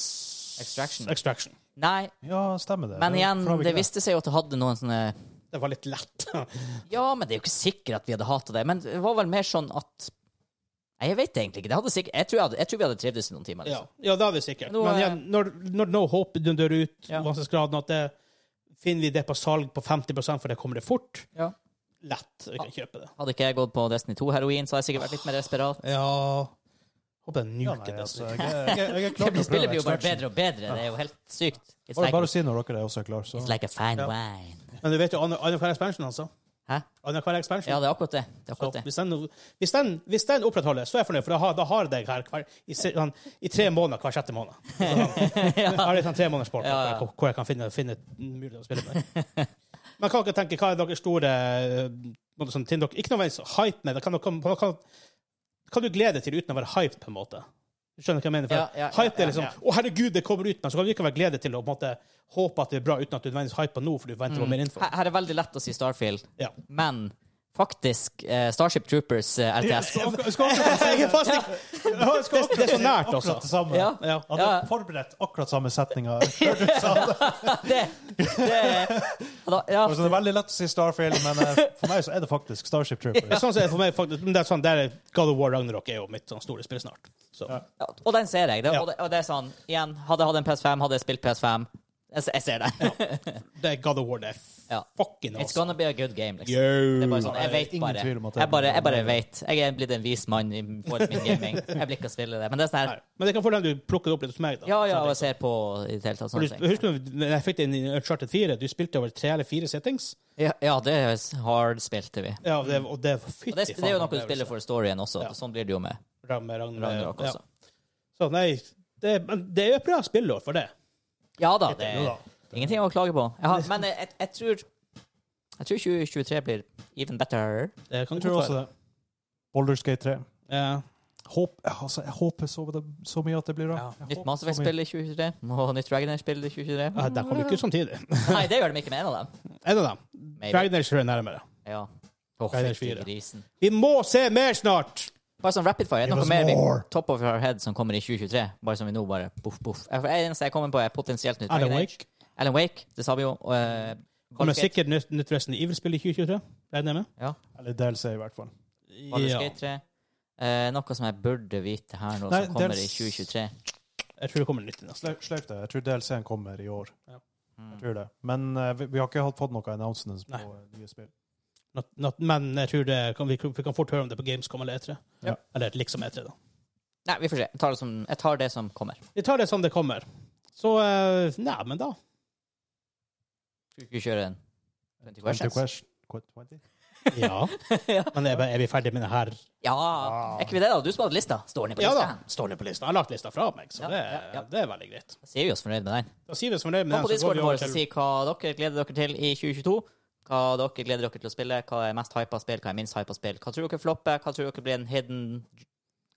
Speaker 2: Extraction.
Speaker 1: Extraction.
Speaker 2: Nei,
Speaker 4: ja, stemmer det.
Speaker 2: men
Speaker 4: Det-
Speaker 2: igjen,
Speaker 4: for har vi
Speaker 2: det
Speaker 4: ikke
Speaker 2: viste seg jo at det hadde noen sånne
Speaker 1: Det var litt lett. [LAUGHS]
Speaker 2: Ja, men det er jo ikke sikkert at vi hadde hata det. Men det var vel mer sånn at Nei, jeg vet egentlig ikke. Det hadde sikkert... jeg, tror jeg, hadde... jeg tror vi hadde trivdes i noen timer.
Speaker 1: ja.
Speaker 2: Liksom.
Speaker 1: ja, det er det sikkert.
Speaker 2: Nå,
Speaker 1: Men
Speaker 2: eh,
Speaker 1: igjen, når, når No Hope dundrer ut,
Speaker 2: Ja.
Speaker 1: vanskelighetsgraden at det Finner vi det på salg på 50 for det kommer det fort?
Speaker 2: Ja.
Speaker 1: Lett. Vi kan kjøpe det.
Speaker 2: Hadde ikke jeg gått på Destiny 2-heroin, så hadde jeg sikkert vært litt mer desperat.
Speaker 1: Ja Håper det
Speaker 4: Ja,
Speaker 1: nuker
Speaker 4: nei,
Speaker 1: det.
Speaker 4: altså, jeg, jeg, jeg,
Speaker 2: [LAUGHS]
Speaker 4: jeg er klar til å
Speaker 2: Spillet
Speaker 4: prøve
Speaker 2: blir jo bare
Speaker 4: Extraction.
Speaker 2: bedre og bedre. Det er jo helt sykt. It's
Speaker 4: Bare,
Speaker 2: like,
Speaker 4: bare si når dere er også er klar, så
Speaker 2: it's like a fine
Speaker 1: Ja.
Speaker 2: wine.
Speaker 1: Men du vet jo annenhver expansion, altså.
Speaker 2: Hæ?
Speaker 1: Annenhver expansion.
Speaker 2: Ja, det er akkurat det. det, er
Speaker 1: Så
Speaker 2: akkurat det.
Speaker 1: hvis, den, hvis, den, hvis den opprettholdes, så er jeg fornøyd, for da har, da har jeg deg her hver, i, se- sånn, i tre måneder hver sjette
Speaker 2: [LAUGHS]
Speaker 1: måned. Så sånn, Jeg har litt sånn tre måneders sport
Speaker 2: Ja, ja.
Speaker 1: hvor, hvor jeg kan finne, finne mulighet å spille med. [LAUGHS] Men kan dere tenke, hva er deres store eh, måte, sånn, ting dere, Ikke nødvendigvis hype med det. Kan, dere, kan, kan, kan du glede deg til uten å være hyped, på en måte? Du skjønner hva jeg mener? For
Speaker 2: Ja, ja, ja,
Speaker 1: hype det er liksom
Speaker 2: ja,
Speaker 1: 'Å, herregud, det kommer ut', men så kan du likevel glede til å på en måte håpe at det er bra, uten at du nødvendigvis hyper nå, for du venter på mer info.
Speaker 2: Mm. Her, her er veldig lett å si Starfield,
Speaker 1: Ja.
Speaker 2: men faktisk eh, Starship Troopers eh, RTS.
Speaker 4: Skal akkurat- skal akkurat si
Speaker 1: Jeg er fast ikke-
Speaker 4: det,
Speaker 1: Det er så nært, altså.
Speaker 4: akkurat det samme.
Speaker 2: Ja.
Speaker 1: Ja.
Speaker 4: Hadde
Speaker 2: Ja.
Speaker 4: forberedt akkurat samme
Speaker 2: [LAUGHS]
Speaker 4: setninga.
Speaker 2: [LAUGHS] Det, det, da, ja,
Speaker 4: Altså, det er veldig lett å si Starfield, men eh, for meg så er det faktisk Starship Troopers.
Speaker 1: Sånn som det er for meg, faktisk. Men det er sånn, der er God of War Ragnarok er jo mitt sånn store spill snart. Så.
Speaker 4: Ja.
Speaker 2: ja, og den ser jeg. Det,
Speaker 1: Ja.
Speaker 2: og, det, og det er sånn, igjen, hadde jeg hatt en PS5, hadde jeg spilt PS5. Jeg, se- jeg ser det.
Speaker 1: Det er God of War, det er
Speaker 2: Ja.
Speaker 1: fucking
Speaker 2: [LAUGHS] It's
Speaker 1: awesome.
Speaker 2: gonna be a good game, liksom.
Speaker 1: Yo.
Speaker 2: Det er bare sånn, jeg vet
Speaker 4: Ingen
Speaker 2: bare.
Speaker 4: tvil om at det
Speaker 2: Jeg bare,
Speaker 4: blir
Speaker 2: jeg bare
Speaker 4: bra.
Speaker 2: vet. Jeg er blitt en vis mann i forhold til min gaming. Jeg blir ikke å spille det. Men det er sånn her,
Speaker 1: Nei. Men det kan få dem du plukker det opp litt hos meg, da.
Speaker 2: ja, ja,
Speaker 1: Sånn
Speaker 2: og
Speaker 1: at-
Speaker 2: jeg ser på i det hele tatt
Speaker 1: For
Speaker 2: sånne
Speaker 1: du,
Speaker 2: ting.
Speaker 1: husker du når jeg fikk det inn i Uncharted 4? Du spilte over tre eller fire settings.
Speaker 2: Ja, ja det er hard spilte vi.
Speaker 1: Ja, og det, og det, fytti
Speaker 2: Og det, det er jo
Speaker 1: faen,
Speaker 2: noe du spiller for storyen også.
Speaker 1: Ja.
Speaker 2: Sånn blir det jo med
Speaker 1: Ragnarok,
Speaker 2: Ragnarok
Speaker 1: ja.
Speaker 2: også.
Speaker 1: Så nei, det, men det er jo et bra spillår for det.
Speaker 2: Ja da, det
Speaker 1: Jo
Speaker 2: er
Speaker 1: da.
Speaker 2: ingenting å klage på. Jeg
Speaker 1: Liksom.
Speaker 2: har, men jeg, jeg, jeg tror Jeg tror 2023 blir even better.
Speaker 1: Det kan
Speaker 4: Jeg tror også det. Baldur's Gate 3.
Speaker 1: Ja.
Speaker 4: Håp, altså, jeg håper så, så mye at det blir bra.
Speaker 1: Ja.
Speaker 4: Jeg
Speaker 2: Nytt
Speaker 4: håper
Speaker 2: Mass
Speaker 4: så mye.
Speaker 2: Effect-spill i 2023. Og nytt Ragnar-spill i 2023.
Speaker 1: Ja, De kommer ikke ut samtidig.
Speaker 2: [LAUGHS]
Speaker 1: [LAUGHS]
Speaker 2: Nei, det gjør de ikke med en av dem.
Speaker 1: En av dem.
Speaker 2: Maybe.
Speaker 1: Ragnar er nærmere.
Speaker 2: Ja. Åh,
Speaker 1: Ragnar
Speaker 2: fytti
Speaker 1: fire.
Speaker 2: grisen.
Speaker 1: Vi må se mer snart!
Speaker 2: Bare sånn rapid fire. Er det
Speaker 4: Give us
Speaker 2: noe mer vi,
Speaker 4: more.
Speaker 2: top of our head som kommer i 2023? Bare som vi nå bare boff, boff. Jeg- for Det eneste jeg kommer på, er potensielt nytt
Speaker 1: Alan
Speaker 2: Dragon Age.
Speaker 1: Wake.
Speaker 2: Alan Wake, det sa vi jo. Og, eh,
Speaker 1: Kommer
Speaker 2: Baldur's Gate.
Speaker 1: sikkert nytt, nytt Resident Evil-spill i 2023. Regner jeg med?
Speaker 2: Ja.
Speaker 4: Eller DLC, i hvert fall.
Speaker 2: Baldur's
Speaker 1: Ja.
Speaker 2: Gate 3. Eh, noe som jeg burde vite her nå,
Speaker 4: Nei,
Speaker 2: som kommer
Speaker 4: dels-
Speaker 2: i 2023.
Speaker 1: Jeg tror det kommer nytt i neste.
Speaker 4: Slø- Sløyf det. Jeg tror DLC-en kommer i år. Jeg
Speaker 2: Mm.
Speaker 4: tror det. Men eh, vi, vi har ikke hatt- fått noe announcements på
Speaker 1: Nei.
Speaker 4: eh, nye spill.
Speaker 1: Not, not, men jeg tror det kan, vi, vi kan fort høre om det på Gamescom eller E3.
Speaker 4: Ja.
Speaker 1: Eller liksom E3, da.
Speaker 2: Nei, vi får se. Jeg tar det som, jeg tar det som kommer.
Speaker 1: Vi tar det som det kommer. Så eh, Nei, men da.
Speaker 2: Skal vi ikke kjøre en 20 questions?
Speaker 4: Quest- Quest 20?
Speaker 1: [LAUGHS] Ja. Men er, er vi ferdig med det her?
Speaker 2: Ja, er ikke vi det, da? Du som hadde lista. Står den på
Speaker 1: Ja da.
Speaker 2: lista?
Speaker 1: Står det på lista. Jeg har lagt lista fra meg, så
Speaker 2: Ja,
Speaker 1: det,
Speaker 2: ja, ja.
Speaker 1: det er veldig greit.
Speaker 2: Da sier vi oss fornøyd med den.
Speaker 1: Da sier vi oss fornøyd med
Speaker 2: Kom på
Speaker 1: den, så går
Speaker 2: discorden
Speaker 1: vi over
Speaker 2: vår og
Speaker 1: til
Speaker 2: si hva dere gleder dere til i 2022. Hva dere gleder dere til å spille, hva er mest hypa spill, hva er minst hypa spill. Hva tror dere flopper, hva tror dere blir en hidden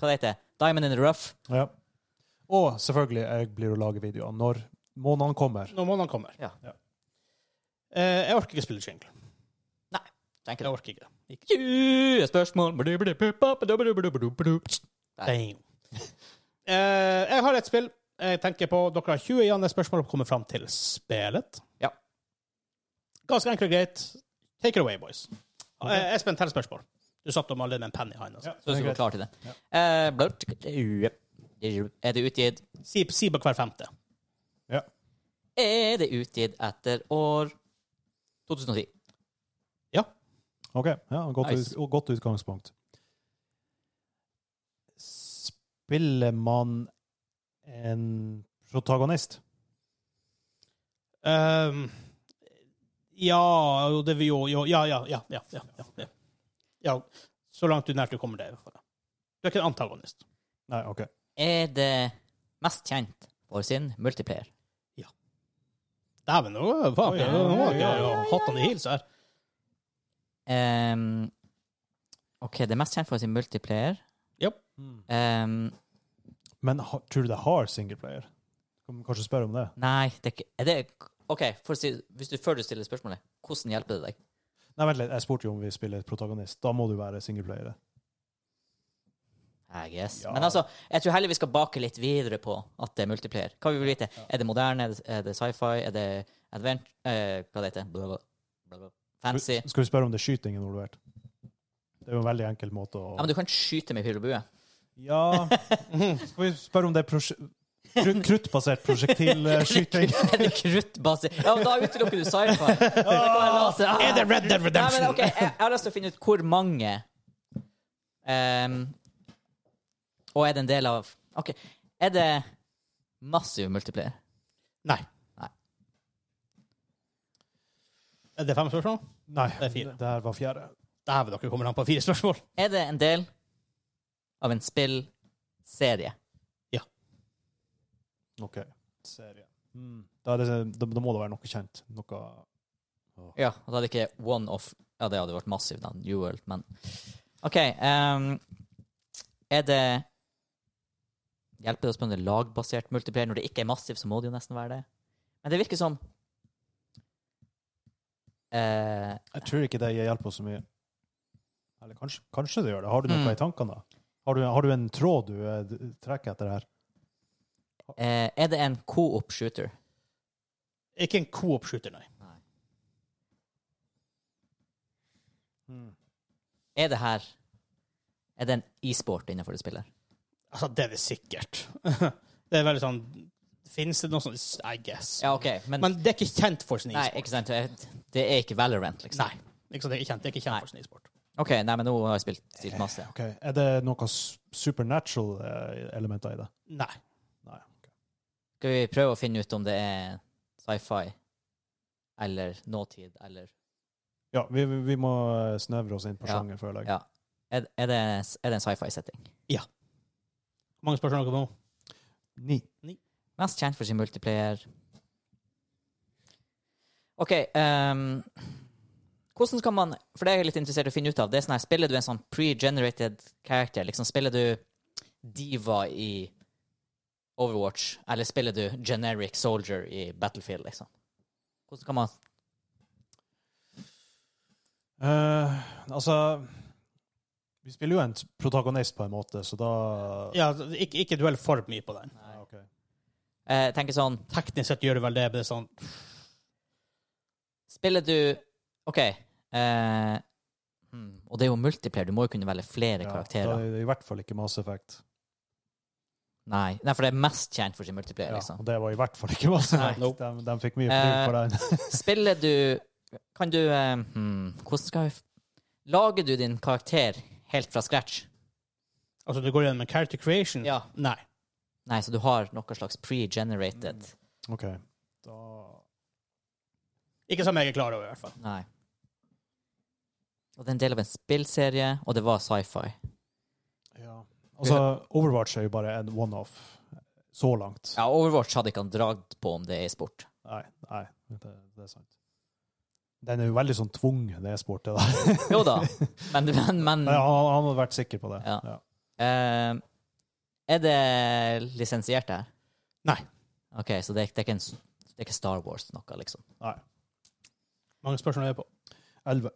Speaker 2: Hva det heter Diamond in the rough.
Speaker 4: Ja. Og selvfølgelig, jeg blir å lage videoer når månedene kommer.
Speaker 1: når månedene kommer.
Speaker 2: Ja.
Speaker 4: Ja.
Speaker 1: Eh, jeg orker ikke spille jingle.
Speaker 2: Tenker
Speaker 1: Jeg
Speaker 2: dere.
Speaker 1: orker ikke. Ikke.
Speaker 2: Yeah, spørsmål Nei.
Speaker 1: Damn. Eh, jeg har et spill jeg tenker på. Dere har 20 igjen. Det er spørsmål om å komme fram til spillet.
Speaker 2: Ja.
Speaker 1: Ganske enkelt og greit. Take it away, boys. Eh, Espen, tell spørsmål. Du satt om alle med en penn i hånda.
Speaker 4: Ja.
Speaker 1: Altså.
Speaker 2: Så er vi klar til det. Eh, blurt. Er det utgitt?
Speaker 1: Si, si på hver femte.
Speaker 4: Ja.
Speaker 2: Er det utgitt etter år 2010?
Speaker 1: Ja.
Speaker 4: OK. Ja, godt,
Speaker 2: Nice.
Speaker 4: ut, godt utgangspunkt. Spiller man en protagonist?
Speaker 1: Ehm, ja jo, det vil jo, jo ja, ja, ja, ja, ja, ja, ja. ja. Så langt du nært du kommer det. i hvert fall. Du er ikke en antagonist.
Speaker 4: Nei, OK.
Speaker 2: Er det mest kjent for sin multiplayer?
Speaker 1: Dæven, nå er det faen
Speaker 4: Oi,
Speaker 1: ikke-
Speaker 4: ja,
Speaker 1: nå har
Speaker 4: ja, ja,
Speaker 1: jeg jo hatt han i hils her.
Speaker 2: Ehm, OK, det er mest kjent for sin multiplayer. Ehm,
Speaker 4: Men ha, tror du det har singleplayer? Kan man kanskje spørre om det?
Speaker 2: nei, det er ikke er det, OK, for å si, hvis du, før du stiller spørsmålet, hvordan hjelper det deg?
Speaker 4: Nei, vent litt. Jeg spurte jo om vi spiller protagonist. Da må du være singleplayere.
Speaker 2: I guess.
Speaker 4: Ja.
Speaker 2: Men altså, jeg tror heller vi skal bake litt videre på at det er multiplayer. Hva vi vil vite? Er det moderne? Er det, er det sci-fi? Er det advent... eh, hva det heter Blah, blah, blah, blah. Fancy?
Speaker 4: Skal vi spørre om det er skyting involvert? Det er jo en veldig enkel måte å
Speaker 2: Ja, men du kan skyte med pil og bue. [LAUGHS]
Speaker 4: Ja Skal vi spørre om det er prosje... kru- Kruttbasert prosjektilskyting?
Speaker 2: Er [LAUGHS] det kruttbase? Ja, men da utelukker du sci-fi. Det kan være laser. Ah!
Speaker 1: Er det Red Dead
Speaker 2: Nei, men
Speaker 1: Redemption?
Speaker 2: ok, jeg, jeg har lyst til å finne ut hvor mange ehm, Og er det en del av OK, er det massiv multiplier?
Speaker 1: Nei.
Speaker 2: Nei.
Speaker 1: Er det fem spørsmål?
Speaker 4: Nei,
Speaker 1: Det er fire.
Speaker 4: det her var fjerde.
Speaker 1: Dæven, dere kommer an på fire spørsmål.
Speaker 2: Er det en del av en spillserie?
Speaker 4: OK. Serie. Mm. Da, er det, da, da må det være noe kjent. Noe
Speaker 2: Ja, og da hadde ikke one off Ja, det hadde vært massivt, da. New World, men OK. ehm, er det Hjelper det å spille lagbasert multiplayer? Når det ikke er massivt, så må det jo nesten være det. Men det virker som eh,
Speaker 4: Jeg tror ikke det hjelper så mye. Eller kanskje, kanskje det gjør det. Har du noe
Speaker 2: Mm.
Speaker 4: i tankene, da? Har du, har du en tråd du eh, d- trekker etter det her?
Speaker 2: eh, Er det en co-op shooter?
Speaker 1: Ikke en coop-shooter, nei.
Speaker 2: Hmm. Er det her Er det en e-sport innenfor det spillet?
Speaker 1: Altså, det er det sikkert. [LAUGHS] det er veldig sånn Fins det noe sånt? I guess.
Speaker 2: Ja, OK, men,
Speaker 1: Men det er ikke kjent for sin
Speaker 2: Nei,
Speaker 1: e-sport.
Speaker 2: ikke sant. jeg- Det er ikke Valorant, liksom.
Speaker 1: Nei. Ikke sant, det er ikke kjent, det er ikke kjent for sin e-sport.
Speaker 2: OK, nei, men nå har jeg spilt, spilt masse.
Speaker 4: Ok, Er det noen s- supernatural eh, elementer i det?
Speaker 1: Nei.
Speaker 4: Nei. ok.
Speaker 2: Skal vi prøve å finne ut om det er sci-fi eller nåtid eller
Speaker 4: Ja, vi, vi- vi må eh, snevre oss inn på
Speaker 2: Ja.
Speaker 4: sjanger, føler jeg.
Speaker 2: Ja. Er, er, det, er det en sci-fi-setting?
Speaker 1: Hvor mange spørsmål dere nå?
Speaker 4: Ni.
Speaker 2: Mest kjent for sin multiplayer. OK ehm, Hvordan skal man For det er jeg litt interessert i å finne ut av. Det er sånn her, Spiller du en sånn pre-generated character? Liksom, spiller du Diva i Overwatch, eller spiller du generic soldier i Battlefield, liksom? Hvordan kan man
Speaker 4: Eh, altså Vi spiller jo en t- protagonist på en måte, så da
Speaker 1: Ja, altså, ikke, ikke duell for mye på den.
Speaker 4: Ja, ok.
Speaker 2: eh, tenke sånn
Speaker 1: Teknisk sett gjør det vel det, men det er sånn
Speaker 2: Spiller du OK. Eh, hmm, og det er jo multiplayer. Du må jo kunne velge flere
Speaker 4: Ja, Da
Speaker 2: karakterer.
Speaker 4: er det i hvert fall ikke Mass Effect.
Speaker 2: Nei. Nei, for det er mest kjent for sin multiplayer,
Speaker 4: Ja,
Speaker 2: liksom. Eh.
Speaker 4: og det var i hvert fall ikke Mass Effect.
Speaker 1: nope.
Speaker 4: de, de fikk mye bruk for den.
Speaker 2: Spiller du Kan du eh, hmm, Hvordan skal vi f- Lager du din karakter helt fra scratch?
Speaker 1: Altså, du går gjennom en character creation?
Speaker 2: Ja.
Speaker 1: Nei.
Speaker 2: Nei, så du har noe slags pre-generated
Speaker 4: [LAUGHS] OK. Da
Speaker 1: Ikke som jeg er klar over, i hvert fall.
Speaker 2: Nei. Og det er en del av en spillserie, og det var sci-fi.
Speaker 4: Ja. Altså, Overwatch er jo bare en one-off så langt.
Speaker 2: Ja, Overwatch hadde ikke han dratt på om det er sport.
Speaker 4: Nei, nei det, det er sant. Den er jo veldig sånn tvungen e-sport, det der.
Speaker 2: Jo [LAUGHS] da, men, men, men
Speaker 4: Men han, han hadde vært sikker på det.
Speaker 2: Mm. Ja. Eh, er det lisensiert her?
Speaker 1: Nei.
Speaker 2: OK, så det, er- det, er, ikke en, s- det er ikke Star Wars noe, liksom?
Speaker 4: Nei.
Speaker 1: Mange spørsmål er det på.
Speaker 4: 11.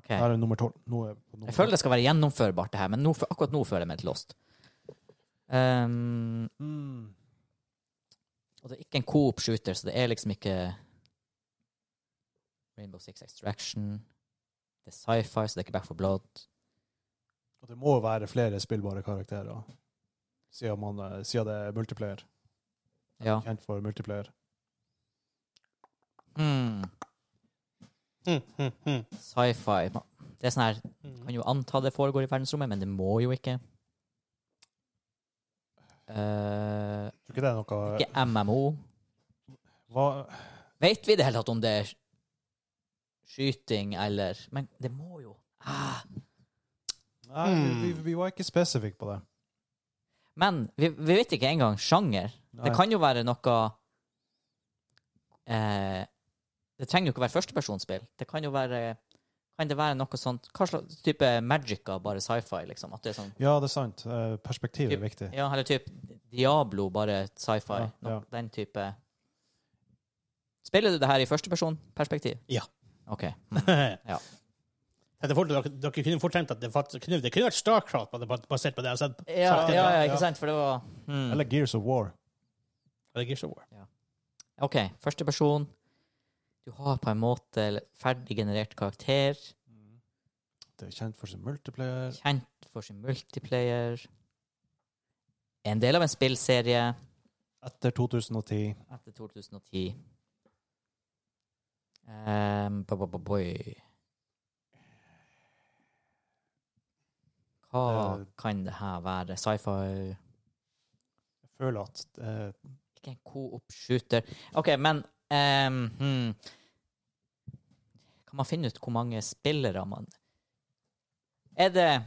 Speaker 2: Ok.
Speaker 4: Her er nummer 12. Nå er vi på nummer
Speaker 2: Jeg føler det skal være gjennomførbart, det her, men nå, fø- akkurat nå føler jeg meg litt lost. Ehm,
Speaker 4: 12. Mm.
Speaker 2: og det er ikke en coop shooter, så det er liksom ikke Rainbow Six Extraction. Det er sci-fi, så det er ikke Back for Blood.
Speaker 4: Og det må være flere spillbare karakterer, siden, man, eh, siden det er multiplayer.
Speaker 2: Ja.
Speaker 4: Kjent for multiplayer.
Speaker 2: Hmm,
Speaker 1: Mm, mm, mm. [LAUGHS]
Speaker 2: sci-fi Det er sånn her,
Speaker 1: Mm.
Speaker 2: kan jo anta det foregår i verdensrommet, men det må jo ikke. Eh,
Speaker 4: Tror ikke det er noe
Speaker 2: ikke MMO.
Speaker 4: Hva,
Speaker 2: Vet vi det hele tatt om det er skyting eller Men det må jo ah.
Speaker 4: Nei, vi, vi var ikke spesifikke på det.
Speaker 2: Men vi, vi vet ikke engang sjanger.
Speaker 4: Nei.
Speaker 2: Det kan jo være noe eh, Det trenger jo ikke være førstepersonsspill. Det kan jo være Kan det være noe sånt Hva slags type magica, bare sci-fi, liksom? At det er sånn
Speaker 4: Ja, det er sant. Eh, Perspektivet er viktig.
Speaker 2: Ja, eller type Diablo, bare sci-fi.
Speaker 4: Ja,
Speaker 2: No-
Speaker 4: ja.
Speaker 2: Den type Spiller du det her i førstepersonperspektiv?
Speaker 1: Ja.
Speaker 2: OK. Ja.
Speaker 1: Dette fort, dere, dere kunne fort tenkt at det, faktisk kunne, det kunne vært Starcraft ba- ba- basert på det jeg har sett.
Speaker 2: Ja,
Speaker 1: sagt det.
Speaker 2: ja, ja,
Speaker 4: Ja.
Speaker 2: ikke sant? For det var hmm.
Speaker 4: Eller Gears of War.
Speaker 1: Eller Gears of War.
Speaker 2: OK, første person. Du har på en måte ferdig generert karakter. Mm.
Speaker 4: Det er kjent for sin multiplayer.
Speaker 2: Kjent for sin multiplayer. En del av en spillserie
Speaker 4: Etter 2010.
Speaker 2: etter 2010. Ehm, bo- bo- bo- boy. Hva
Speaker 4: Det-
Speaker 2: kan det her være? Sci-fi?
Speaker 4: Jeg føler at eh,
Speaker 2: Ikke en co-op-shooter. OK, men ehm, hmm. Kan man finne ut hvor mange spillere man Er det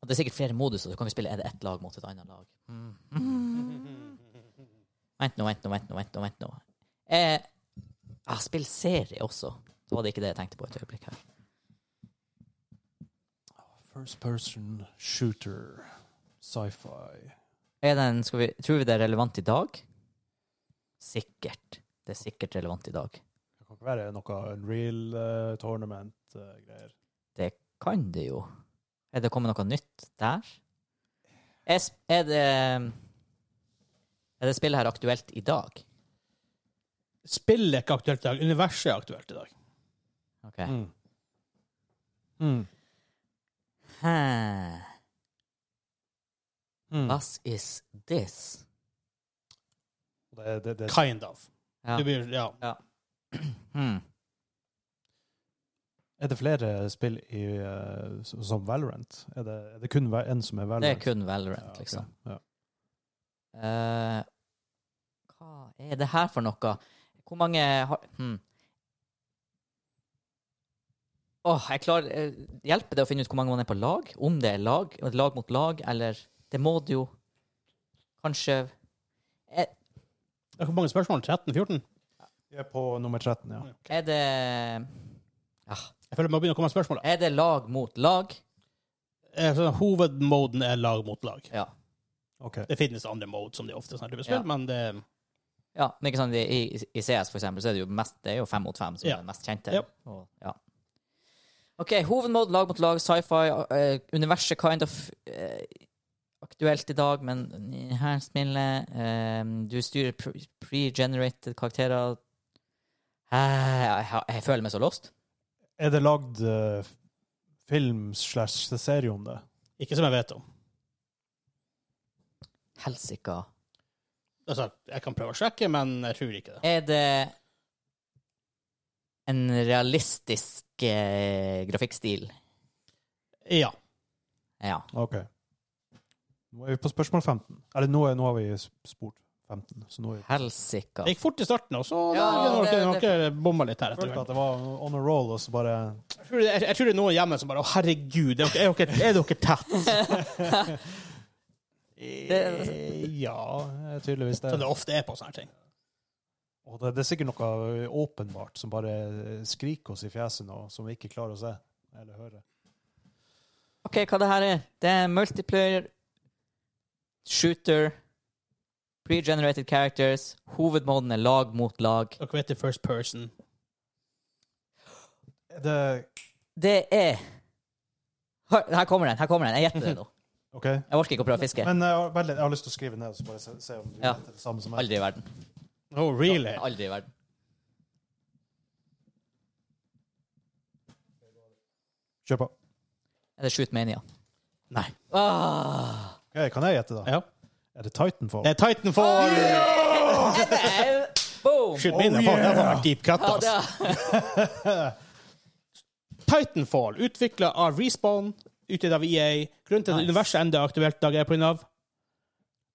Speaker 2: og Det er sikkert flere moduser. så kan vi spille Er det ett lag mot et annet lag? Hmm.
Speaker 1: Mm.
Speaker 2: Vent nå, vent nå, vent nå. vent nå, vent nå. Eh, ah, spill serie også. Det var det ikke det jeg tenkte på et øyeblikk her.
Speaker 4: First person shooter. Sci-fi.
Speaker 2: Er den, skal vi, tror vi det er relevant i dag? Sikkert. Det er sikkert relevant i dag.
Speaker 4: Det kan ikke være noe Unreal eh, Tournament-greier.
Speaker 2: Kan det jo. Er det kommet noe nytt der? Er, sp- er det Er det spillet her aktuelt i dag?
Speaker 1: Spillet er ikke aktuelt i dag. Universet er aktuelt i dag.
Speaker 2: Ok.
Speaker 4: mm. Mm.
Speaker 2: Hæ.
Speaker 4: Mm.
Speaker 2: What is this?
Speaker 4: Det, det, det,
Speaker 1: Kind of.
Speaker 2: Ja.
Speaker 1: Det blir, ja.
Speaker 2: [CLEARS THROAT] Hmm.
Speaker 4: er det flere spill i, eh, som- som Valorant? Er det, er det kun én som er
Speaker 2: Det er
Speaker 4: Valorant?
Speaker 2: kun
Speaker 4: Ja,
Speaker 2: Valorant,
Speaker 4: ok.
Speaker 2: liksom.
Speaker 4: Ja.
Speaker 2: Eh, hva er det her for noe? Hvor mange har hmm. Åh, jeg klarer eh, Hjelper det å finne ut hvor mange man er på lag? Om det er lag, og lag mot lag, eller Det må det jo kanskje er,
Speaker 1: Det er Hvor mange spørsmål? 13-14?
Speaker 4: Vi er på nummer 13, ja.
Speaker 2: er det
Speaker 1: Jeg føler det må begynne å komme spørsmål.
Speaker 2: Er det lag mot lag?
Speaker 1: Eh, så Hovedmoden er lag mot lag.
Speaker 2: Ja.
Speaker 4: OK.
Speaker 1: Det finnes andre mode som de ofte sånn, spiller,
Speaker 2: Ja.
Speaker 1: men det
Speaker 2: Ja, men ikke sant, i, i- I CS, for eksempel, så er det jo mest det er jo fem mot fem som
Speaker 1: Ja.
Speaker 2: er det mest kjente.
Speaker 1: Ja.
Speaker 2: Og, ja. OK, hovedmode, lag mot lag, sci-fi, eh, universet kind of eh, aktuelt i dag, men her spiller eh, Du styrer pre- pre-generated karakterer Eh, jeg, har- jeg føler meg så lost.
Speaker 4: Er det lagd eh, film slash serie om det?
Speaker 1: Ikke som jeg vet om.
Speaker 2: Helsika.
Speaker 1: Altså, jeg kan prøve å sjekke, men jeg tror ikke det.
Speaker 2: Er det en realistisk eh, grafikkstil?
Speaker 1: Ja.
Speaker 2: Ja.
Speaker 4: OK. Nå er vi på spørsmål 15. Eller nå, er, nå har vi s- spurt 15, så nå er vi
Speaker 2: Helsika.
Speaker 1: Det gikk fort i starten, og så ja,
Speaker 2: Ja,
Speaker 1: har
Speaker 2: det-
Speaker 1: dere-
Speaker 2: det-
Speaker 1: dere bomma litt her. etter
Speaker 4: Følte at
Speaker 1: hvert.
Speaker 4: det var on a roll, og så bare
Speaker 1: Jeg, tror det- jeg, jeg tror det er noen hjemme som bare Å, herregud, er dere, er dere, er dere tett?
Speaker 2: [LAUGHS]
Speaker 4: eh, Ja, tydeligvis det.
Speaker 1: Som det ofte er på sånne ting.
Speaker 4: Og det, det er sikkert noe åpenbart som bare skriker oss i fjeset nå, som vi ikke klarer å se eller høre.
Speaker 2: OK, hva det her er? Det er multiplayer, shooter, pre-generated characters, hovedmoden er lag mot lag.
Speaker 1: Dere vet det first person.
Speaker 4: Er Det,
Speaker 2: Det er Hør, Her kommer den, her kommer den. Jeg gjetter det nå.
Speaker 4: OK.
Speaker 2: Jeg orker ikke å prøve å fiske.
Speaker 4: Men eh, jeg har, vent litt, jeg har lyst til å skrive ned og så bare se, se om du
Speaker 2: Ja.
Speaker 4: heter det samme som meg.
Speaker 2: Aldri i verden.
Speaker 1: Oh, really?
Speaker 2: Aldri i verden.
Speaker 4: Kjør på.
Speaker 2: Er det Shoot Mania?
Speaker 1: Nei.
Speaker 2: Ah,
Speaker 4: Ok, kan jeg gjette, da?
Speaker 1: Ja.
Speaker 4: Er det Titanfall?
Speaker 1: Det er
Speaker 2: Oh,
Speaker 1: Titanfall.
Speaker 2: er det- Boom!
Speaker 1: Skyld
Speaker 4: Oh,
Speaker 1: min, det var- det var
Speaker 4: yeah.
Speaker 1: deep cut,
Speaker 2: Ja,
Speaker 1: ass.
Speaker 2: det er-
Speaker 1: [LAUGHS] Titanfall, utvikla av Respawn, utgitt av EA. Grunnen til at
Speaker 2: Nice.
Speaker 1: universet enda er aktuelt i dag, er pga.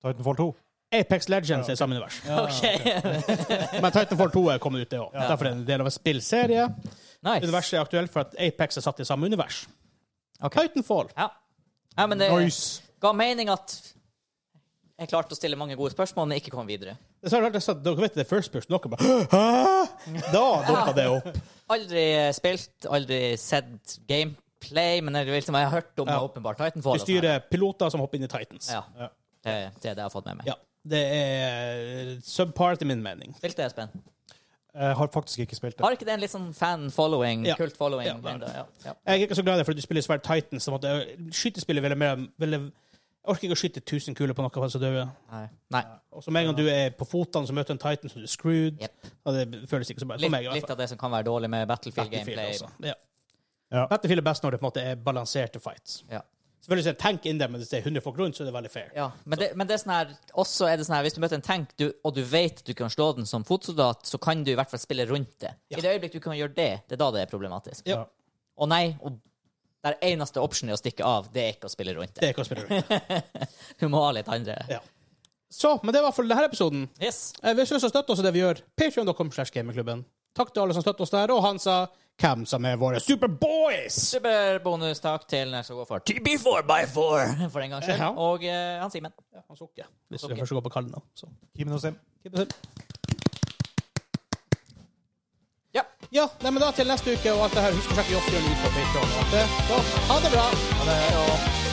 Speaker 4: Titanfall 2?
Speaker 1: Apex Legends er samme univers.
Speaker 2: OK. [LAUGHS]
Speaker 1: Men Titanfall 2 er kommet ut, det òg.
Speaker 4: Ja.
Speaker 1: Derfor er det en del av en spillserie.
Speaker 2: Nice.
Speaker 1: Universet er aktuelt for at Apex er satt i samme univers.
Speaker 2: Ok.
Speaker 1: Titanfall.
Speaker 2: Ja. ja, men
Speaker 1: Eh.
Speaker 2: det
Speaker 4: Nice!
Speaker 2: ga mening at jeg klarte å stille mange gode spørsmål, men ikke kom videre.
Speaker 1: Det er så rart, det er sånn- dere vet det er first person, dere bare Hæ? Da dukka det opp.
Speaker 2: Aldri spilt, aldri sett gameplay, men jeg, liksom, jeg har hørt om
Speaker 1: Ja.
Speaker 2: åpenbart Titanfall. sånn.
Speaker 1: Du styrer piloter som hopper inn i Titans.
Speaker 2: Ja.
Speaker 4: Ja.
Speaker 2: Det, det er det jeg har fått med meg.
Speaker 1: Ja. Det er subpart i min mening.
Speaker 2: Spilt det, Espen?
Speaker 4: Jeg har faktisk ikke spilt det.
Speaker 2: Har ikke det en litt sånn fan-following?
Speaker 1: Ja.
Speaker 2: Kult following?
Speaker 1: Ja, det er det.
Speaker 2: enda? Ja, ja.
Speaker 1: Jeg er ikke så glad i det, fordi du spiller svært Titans. Som at jeg- skytespillet ville mer ville, Jeg orker ikke å skyte 1000 kuler på noe for så døde.
Speaker 2: Nei. Nei.
Speaker 1: Og så med en gang du er på fotene, så møter du en Titan, så er du screwed.
Speaker 2: Jep.
Speaker 1: Og det føles ikke så bra. For
Speaker 2: Litt,
Speaker 1: meg, i hvert
Speaker 2: litt
Speaker 1: fall.
Speaker 2: av det som kan være dårlig med Battlefield-gameplay.
Speaker 1: Battlefield også. Ja.
Speaker 4: Ja.
Speaker 1: Battlefield er best når det på en måte er balanserte fights.
Speaker 2: Ja.
Speaker 1: Selvfølgelig så er det tank inn der, men hvis det er 100 folk rundt, så er det veldig fair.
Speaker 2: Ja, men det, men det er sånn her, også er det sånn her, hvis du møter en tank, du, og du vet at du kan slå den som fotsoldat, så kan du i hvert fall spille rundt det.
Speaker 1: Ja.
Speaker 2: I det øyeblikk du kan gjøre det, det er da det er problematisk.
Speaker 1: Ja.
Speaker 2: Og nei, og der eneste optionen er å stikke av, det er ikke å spille rundt det.
Speaker 1: Det er ikke å spille rundt.
Speaker 2: Du må ha litt andre.
Speaker 1: Ja. Så, men det var for denne episoden.
Speaker 2: Yes.
Speaker 1: Eh, Hvis du vil støtte oss i det vi gjør, patreon.com slash gamingklubben. Takk til alle som støtter oss der, og han sa hvem som er våre superboys!
Speaker 2: Superbonus takk til den som går for TB4x4 for en gangs skyld.
Speaker 1: Ja.
Speaker 2: Og eh, han Simen.
Speaker 1: Ja, han sukker. Hvis
Speaker 2: sukker.
Speaker 1: du først går på kallen, da. Så.
Speaker 4: Kimen og Sim.
Speaker 2: Ja.
Speaker 1: Ja, nei, men da til neste uke og alt det her. Husk å sjekke Joss Jørn ut på Patreon. og alt det. Så ha det bra!
Speaker 2: Ha det.